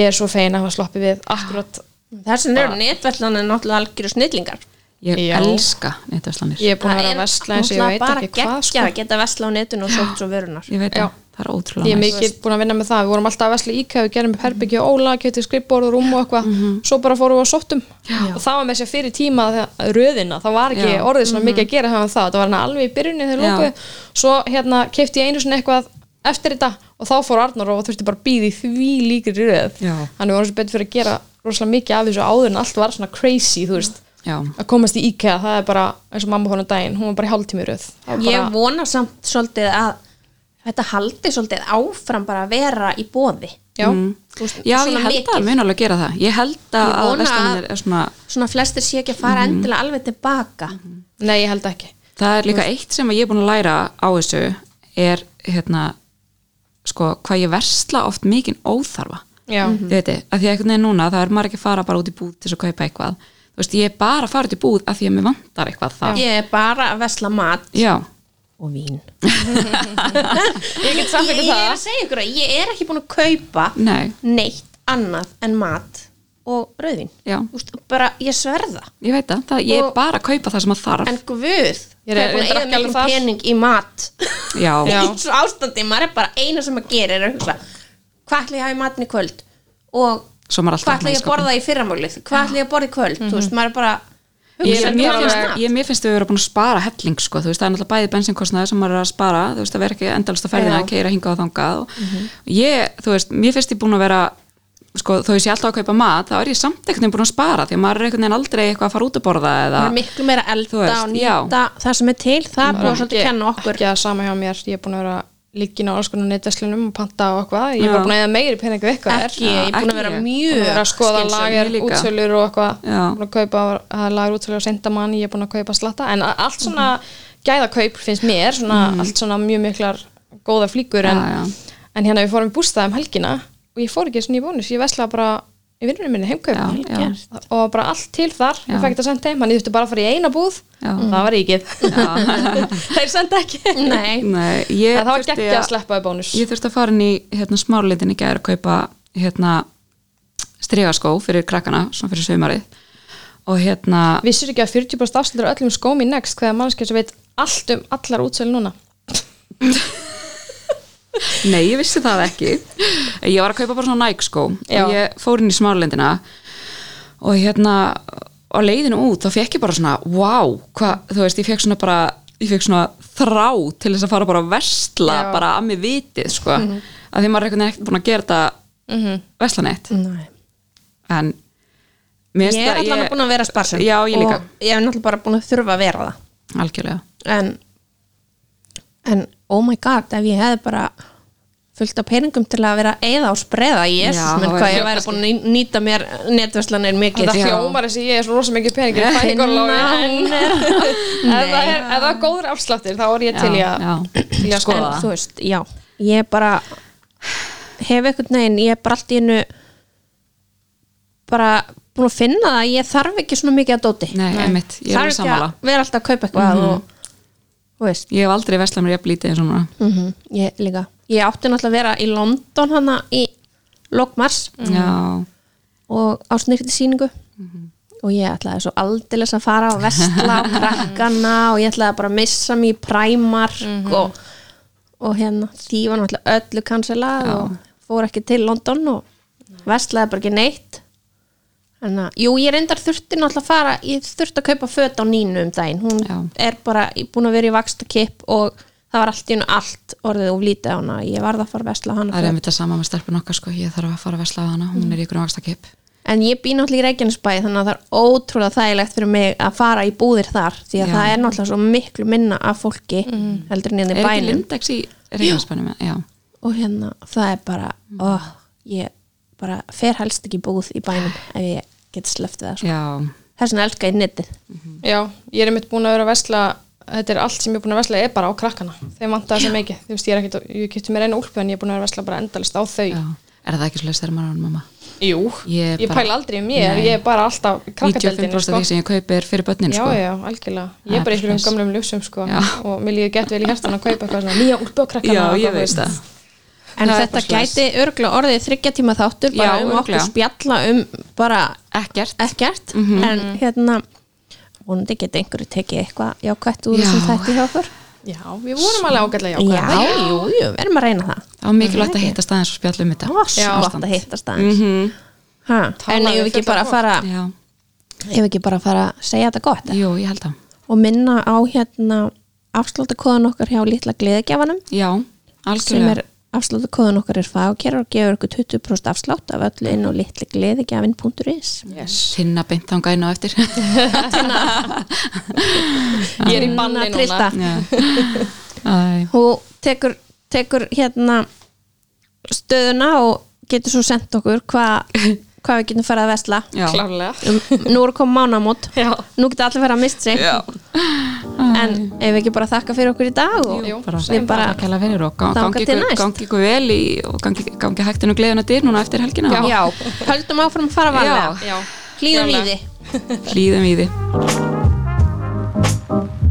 Speaker 2: ég er svo fegin að hafa sloppið við akkurat,
Speaker 1: þessin eru netvellan er náttúrulega algjöru snillingar
Speaker 3: Ég
Speaker 2: Já.
Speaker 3: elska neittaslanir
Speaker 2: ég er búin að vera
Speaker 1: er
Speaker 2: að vesla eins og ég veit
Speaker 1: náttúrulega
Speaker 2: ekki hvað
Speaker 1: bara
Speaker 2: sko.
Speaker 1: geggja að geta vesla á netinu og sótt svo vörunar
Speaker 3: Ég veit
Speaker 2: Já.
Speaker 3: það, það er
Speaker 2: ég
Speaker 3: ótrúlega
Speaker 2: er
Speaker 3: næst
Speaker 2: mikið búin að vinna með það, við vorum alltaf að vesla íka við gerum upp herbyggja og óla, getið skrippborð og rúm og eitthvað,
Speaker 3: Mhm.
Speaker 2: svo bara fórum við á sóttum og það var með sér fyrir tíma þegar- röðina, það var ekki
Speaker 3: Já. Mhm.
Speaker 2: orðið svona mikið að gera hefðan það, það var hann alveg í byrjunni þegar
Speaker 3: Já.
Speaker 2: lókuðu, svo hérna keipti ég einu sinni eitthvað eftir þetta og þá fór Arnur og þurfti bara að býði því líkir röð,
Speaker 3: Já.
Speaker 2: hann var svo betur fyrir að gera rosalega mikið af þessu áður en allt var svona crazy, þú veist,
Speaker 3: Já,
Speaker 2: að komast í IKEA það er bara, eins og mamma honum daginn, hún var bara í hálftími í röð, Það var bara,
Speaker 1: ég vona samt svolítið að þetta haldi svolítið áfram bara að vera í bóði
Speaker 2: já,
Speaker 3: Mm.
Speaker 1: Þú veist,
Speaker 3: Já
Speaker 1: svona
Speaker 3: ég held að
Speaker 1: mikið.
Speaker 3: það mun alveg gera það Ég held að,
Speaker 1: Ég
Speaker 3: að
Speaker 1: vona
Speaker 3: verslanir er svona
Speaker 1: svona flestir sé ekki að fara
Speaker 2: Mhm.
Speaker 1: endilega alveg tilbaka
Speaker 2: nei ég held ekki
Speaker 3: Það er líka eitt sem ég er búin að læra á þessu er hérna sko, hvað ég versla oft mikið óþarfa
Speaker 2: Já.
Speaker 3: Þið veitir, að því að einhvern veginn núna það er maður ekki að fara bara út í búð til þess að kaupa eitthvað þú veist, ég er bara að fara út í búð að því að mér vantar eitthvað það
Speaker 1: ég er bara að vesla mat
Speaker 3: Já,
Speaker 1: og vín
Speaker 2: ég get
Speaker 1: ég,
Speaker 2: samfélgið
Speaker 1: ég er
Speaker 2: það
Speaker 1: að segja ykkur að ég er ekki búin að kaupa
Speaker 3: nei,
Speaker 1: neitt annað en mat og rauðvín
Speaker 3: Já.
Speaker 1: Úst, bara ég sverða
Speaker 3: ég veit það, það ég
Speaker 1: Og-
Speaker 3: er bara að kaupa það sem að þarf
Speaker 1: en guð,
Speaker 2: Ég er-
Speaker 1: það er búin
Speaker 2: ég
Speaker 1: að
Speaker 2: drakk
Speaker 1: eigða
Speaker 2: alveg
Speaker 1: miklum
Speaker 2: þar.
Speaker 1: pening í mat
Speaker 3: Já,
Speaker 1: í
Speaker 2: Já.
Speaker 1: þessu ástandi, maður er bara eina sem að gera er að hugsa, hvað ætla ég að hafa í matni kvöld og
Speaker 3: Svo maður
Speaker 1: hvað ætla
Speaker 3: alltaf sko. með í
Speaker 1: ég að borða í fyrramálið hvað ætla ég að borða í kvöld, þú veist, maður er bara
Speaker 3: Ég,
Speaker 2: Hugsa
Speaker 3: mér,
Speaker 2: bara
Speaker 3: finnst,
Speaker 2: alveg-
Speaker 3: ég, mér finnst við vera búin að spara helling sko, þú veist, það er náttúrulega bæði bensinkostnaði sem maður er að spara, þú veist, það verður ekki endalast að ferðina
Speaker 2: Já.
Speaker 3: að keira hingað og þangað og ég, þú veist, mér finnst ég búin að vera sko, þó ég sé alltaf að kaupa mat þá er ég samt einhvern veginn búin að spara því að maður er einhvern veginn aldrei eitthvað að fara út að borða eða,
Speaker 1: Það er miklu meira að
Speaker 3: Þú
Speaker 1: elda
Speaker 3: veist,
Speaker 1: og nýta það sem er til, það er búið svolítið að kenna okkur
Speaker 2: ekki að sama hjá mér, ég er búin að vera líkin á alls konar neittaslinum og panta og eitthvað ég er
Speaker 3: Já.
Speaker 2: bara búin að eða meiri peningu eitthvað
Speaker 1: ekki, ég er búin að vera
Speaker 3: ekki ég.
Speaker 2: Búin að vera að
Speaker 1: mjög
Speaker 2: skoða
Speaker 1: skynsöm.
Speaker 2: lager
Speaker 3: ég líka.
Speaker 2: útsölur og eitthvað
Speaker 3: Já.
Speaker 2: búin að kaupa að lager útsölur og senda mann ég er búin að kaupa slatta en a- allt svona
Speaker 3: Mhm.
Speaker 2: gæðakaup finnst mér svona, allt svona mjög miklar góða flíkur en,
Speaker 3: Já, já.
Speaker 2: en hérna við fórum í bústað um helgina og ég fór ekki svona í bónus ég vesla bara í vinnunum minni
Speaker 3: Já,
Speaker 2: heimkaup um
Speaker 3: já.
Speaker 2: og bara allt til þar
Speaker 3: Já.
Speaker 2: ég fækti að senda heim, hann ég þurfti bara að fara í eina búð
Speaker 3: Já.
Speaker 2: það var ekki *laughs* þeir senda ekki
Speaker 1: *laughs* Nei,
Speaker 3: Nei, ég
Speaker 2: en það var
Speaker 3: þurfti
Speaker 2: geggja að sleppa í bónus
Speaker 3: ég þurfti að fara inn í hérna, smárlindin í gæri að kaupa hérna, stregaskó fyrir krakkana, svona fyrir sömarið og hérna,
Speaker 2: Vissir ekki að 40% afslutur öllum skóm í next hvaða mannskjöld sem veit allt um allar útsölu núna
Speaker 3: Nei, ég vissi það ekki Ég var að kaupa bara svona Nike skó
Speaker 2: Já.
Speaker 3: og ég fór inn í smárlendina og hérna á leiðinu út þá fekk ég bara svona wow, hva, þú veist, ég fekk svona bara ég fekk svona þrá til þess að fara bara að versla,
Speaker 2: Já.
Speaker 3: bara að mig vitið sko,
Speaker 1: Mhm.
Speaker 3: mm að því maður er einhvern veginn ekkert búin að gera þetta mm -hmm. verslanett
Speaker 1: Nei.
Speaker 3: en mér finnst
Speaker 1: Ég er
Speaker 3: að
Speaker 1: allan að búin að vera sparsum
Speaker 3: Já, ég líka,
Speaker 1: og ég er náttúrulega bara búin að þurfa að vera það
Speaker 3: algjörlega
Speaker 1: en en oh my god ef ég hefði bara fullt af peningum til að vera að eyða og spreða jésus
Speaker 3: Já,
Speaker 1: menn
Speaker 3: það
Speaker 1: hvað
Speaker 3: væri-
Speaker 1: ég væri búin að ný- nýta mér netverslanir mikið
Speaker 2: Þetta
Speaker 3: Já.
Speaker 2: hljómar þessi ég er svo rosa mikið peningur í fæðingarlófi *laughs*
Speaker 3: *laughs*
Speaker 2: en ef það er, ef það er góður afsláttir þá er ég til í
Speaker 3: Já,
Speaker 2: að
Speaker 3: já.
Speaker 2: til í að
Speaker 1: en
Speaker 2: skoða
Speaker 1: þú veist, já ég bara hef eitthvað neginn, ég er bara allt í einu bara búin að finna það að ég þarf ekki svona mikið að dóti
Speaker 3: Nei, einmitt, ég er
Speaker 1: þarf
Speaker 3: alveg
Speaker 1: ekki
Speaker 3: sammála Mhm.
Speaker 1: að vera alltaf að kaupa eitthvað og, þú veist,
Speaker 3: Ég hef aldrei verslað mér jafn lítið eins og núna
Speaker 1: mm ég líka ég átti náttúrulega að vera í London hana í lokmars
Speaker 2: Mm.
Speaker 3: Já,
Speaker 1: og á snirti síningu og ég ætlaði svo aldeilis að fara að vestla á
Speaker 3: *laughs*
Speaker 1: krakkana og ég ætlaði bara að missa mér í Primark
Speaker 3: Mhm.
Speaker 1: og, og hérna því var náttúrulega öllu kanselað og fór ekki til London og vestlaði bara ekki neitt en að, jú, ég reyndar þurfti náttúrulega að fara, ég þurfti að kaupa föt á nínu um daginn, hún
Speaker 3: Já.
Speaker 1: er bara búin að vera í vaksta og það var allt í hennu allt orðið og lítið á hana ég varð að fara að vestla á hana
Speaker 3: Það er
Speaker 1: föt.
Speaker 3: einmitt að sama með stelpun okkar sko, ég þarf að fara að vesla á hana, hún er í ykkur vakstakip.
Speaker 1: En ég býr náttúrulega í Reykjanesbæ þannig að það er ótrúlega þægilegt fyrir mig að fara í búðir þar því að
Speaker 3: Já. Mm.
Speaker 1: það er náttúrulega svo miklu minna af fólki heldur en hérna í
Speaker 3: Er ekki
Speaker 1: bænum
Speaker 3: Lindex í reyðanspænum? Já.
Speaker 1: og hérna það er bara
Speaker 3: Mm.
Speaker 1: oh, ég bara fer helst ekki í búð í bænum ef
Speaker 3: Ah.
Speaker 1: ég get sleftið það sko.
Speaker 3: Já.
Speaker 1: þess vegna elska ég netið
Speaker 3: Mm.
Speaker 2: Já, ég er einmitt búin að vera að vesla þetta er allt sem ég er búin að vesla er bara á krakkana þeim vantar þessi mikið, þú veist ég er ekkit ég kipti mér einu úlpu en ég er búin að vera að vesla bara endalist á þau
Speaker 3: Já. Er það ekki svolítið þegar maður er orðin mamma?
Speaker 2: Jú,
Speaker 3: Ég
Speaker 2: ég,
Speaker 3: bara-
Speaker 2: pæla aldrei um ég
Speaker 3: Nei.
Speaker 2: ég er bara alltaf krakkadeldinu
Speaker 3: 95% af því sem ég kaupi er fyrir börnin sko.
Speaker 2: sko. Já, já, algjörlega. Ég
Speaker 3: Það
Speaker 2: er bara í
Speaker 3: er
Speaker 2: einhverjum
Speaker 3: svoleiðis.
Speaker 2: gamlum ljósum sko
Speaker 3: Já.
Speaker 2: og mér líður gett vel í hjartan að kaupa eitthvað svona nýja úlpu á krakkana.
Speaker 3: Já,
Speaker 2: og
Speaker 3: ég
Speaker 2: þú veist.
Speaker 3: veist það.
Speaker 1: En
Speaker 3: Það er
Speaker 1: þetta
Speaker 3: bara svoleiðis.
Speaker 1: gæti örgla orðið þryggja tíma þáttur bara
Speaker 3: Já,
Speaker 1: um okkur
Speaker 3: örugglega.
Speaker 1: spjalla um bara
Speaker 3: Ekkert. Mhm.
Speaker 1: ekkert en hérna vonandi geti einhverju tekið eitthvað jákvætt úr
Speaker 3: Já.
Speaker 1: þessum þætti hjá okkur
Speaker 2: Já, við vorum alveg ágætlega
Speaker 1: Já,
Speaker 2: jákvæða.
Speaker 1: jú, jú, við erum að reyna það
Speaker 3: Það var mikilvægt að hitta staðins og spjalla um þetta.
Speaker 1: Það
Speaker 2: sko.
Speaker 1: var svo gott
Speaker 3: Ástand.
Speaker 1: að hittast aðeins Ha,
Speaker 2: Talaði
Speaker 1: En ég hef
Speaker 2: við
Speaker 1: ekki
Speaker 2: fullt
Speaker 1: bara
Speaker 2: af
Speaker 1: að fara
Speaker 3: Já.
Speaker 1: ég hef ekki bara að fara að segja þetta gott
Speaker 3: Jú, ég held að.
Speaker 1: og minna á hérna afsláttakóðan okkar hjá litla gleðigjafanum
Speaker 3: Já,
Speaker 1: sem
Speaker 3: algjörlega.
Speaker 1: er afsláttakóðan okkar er fagkerra og gefur okkur 20% afslátt af öllu inn á litla gleðigjafin.is
Speaker 2: Yes.
Speaker 3: Tinna beint þangað inn á eftir.
Speaker 2: *laughs* Ég er í banni núna.
Speaker 3: Já. Æ.
Speaker 1: Hún tekur, tekur hérna stöðuna og getur svo sendt okkur hvað hva við getum farið að vesla
Speaker 3: Já.
Speaker 2: Klárlega.
Speaker 1: um, Nú er komið mánamót
Speaker 2: Já.
Speaker 1: Nú getur allir verið að mista sig
Speaker 3: Já.
Speaker 1: en ef við ekki bara þakka fyrir okkur í dag og
Speaker 2: Jú,
Speaker 3: bara,
Speaker 1: segjum bara
Speaker 3: Takk hella fyrir og
Speaker 1: þangað
Speaker 3: gangi
Speaker 1: til
Speaker 3: ykkur,
Speaker 1: næst.
Speaker 3: gangi ykkur vel í, og gangi, gangi hægtinu gleðuna dyr núna eftir helgina.
Speaker 1: já, höldum áfram að fara varlega
Speaker 2: Já.
Speaker 1: hlýðum í
Speaker 2: Klárlega.
Speaker 1: því
Speaker 3: Hlýðum í því.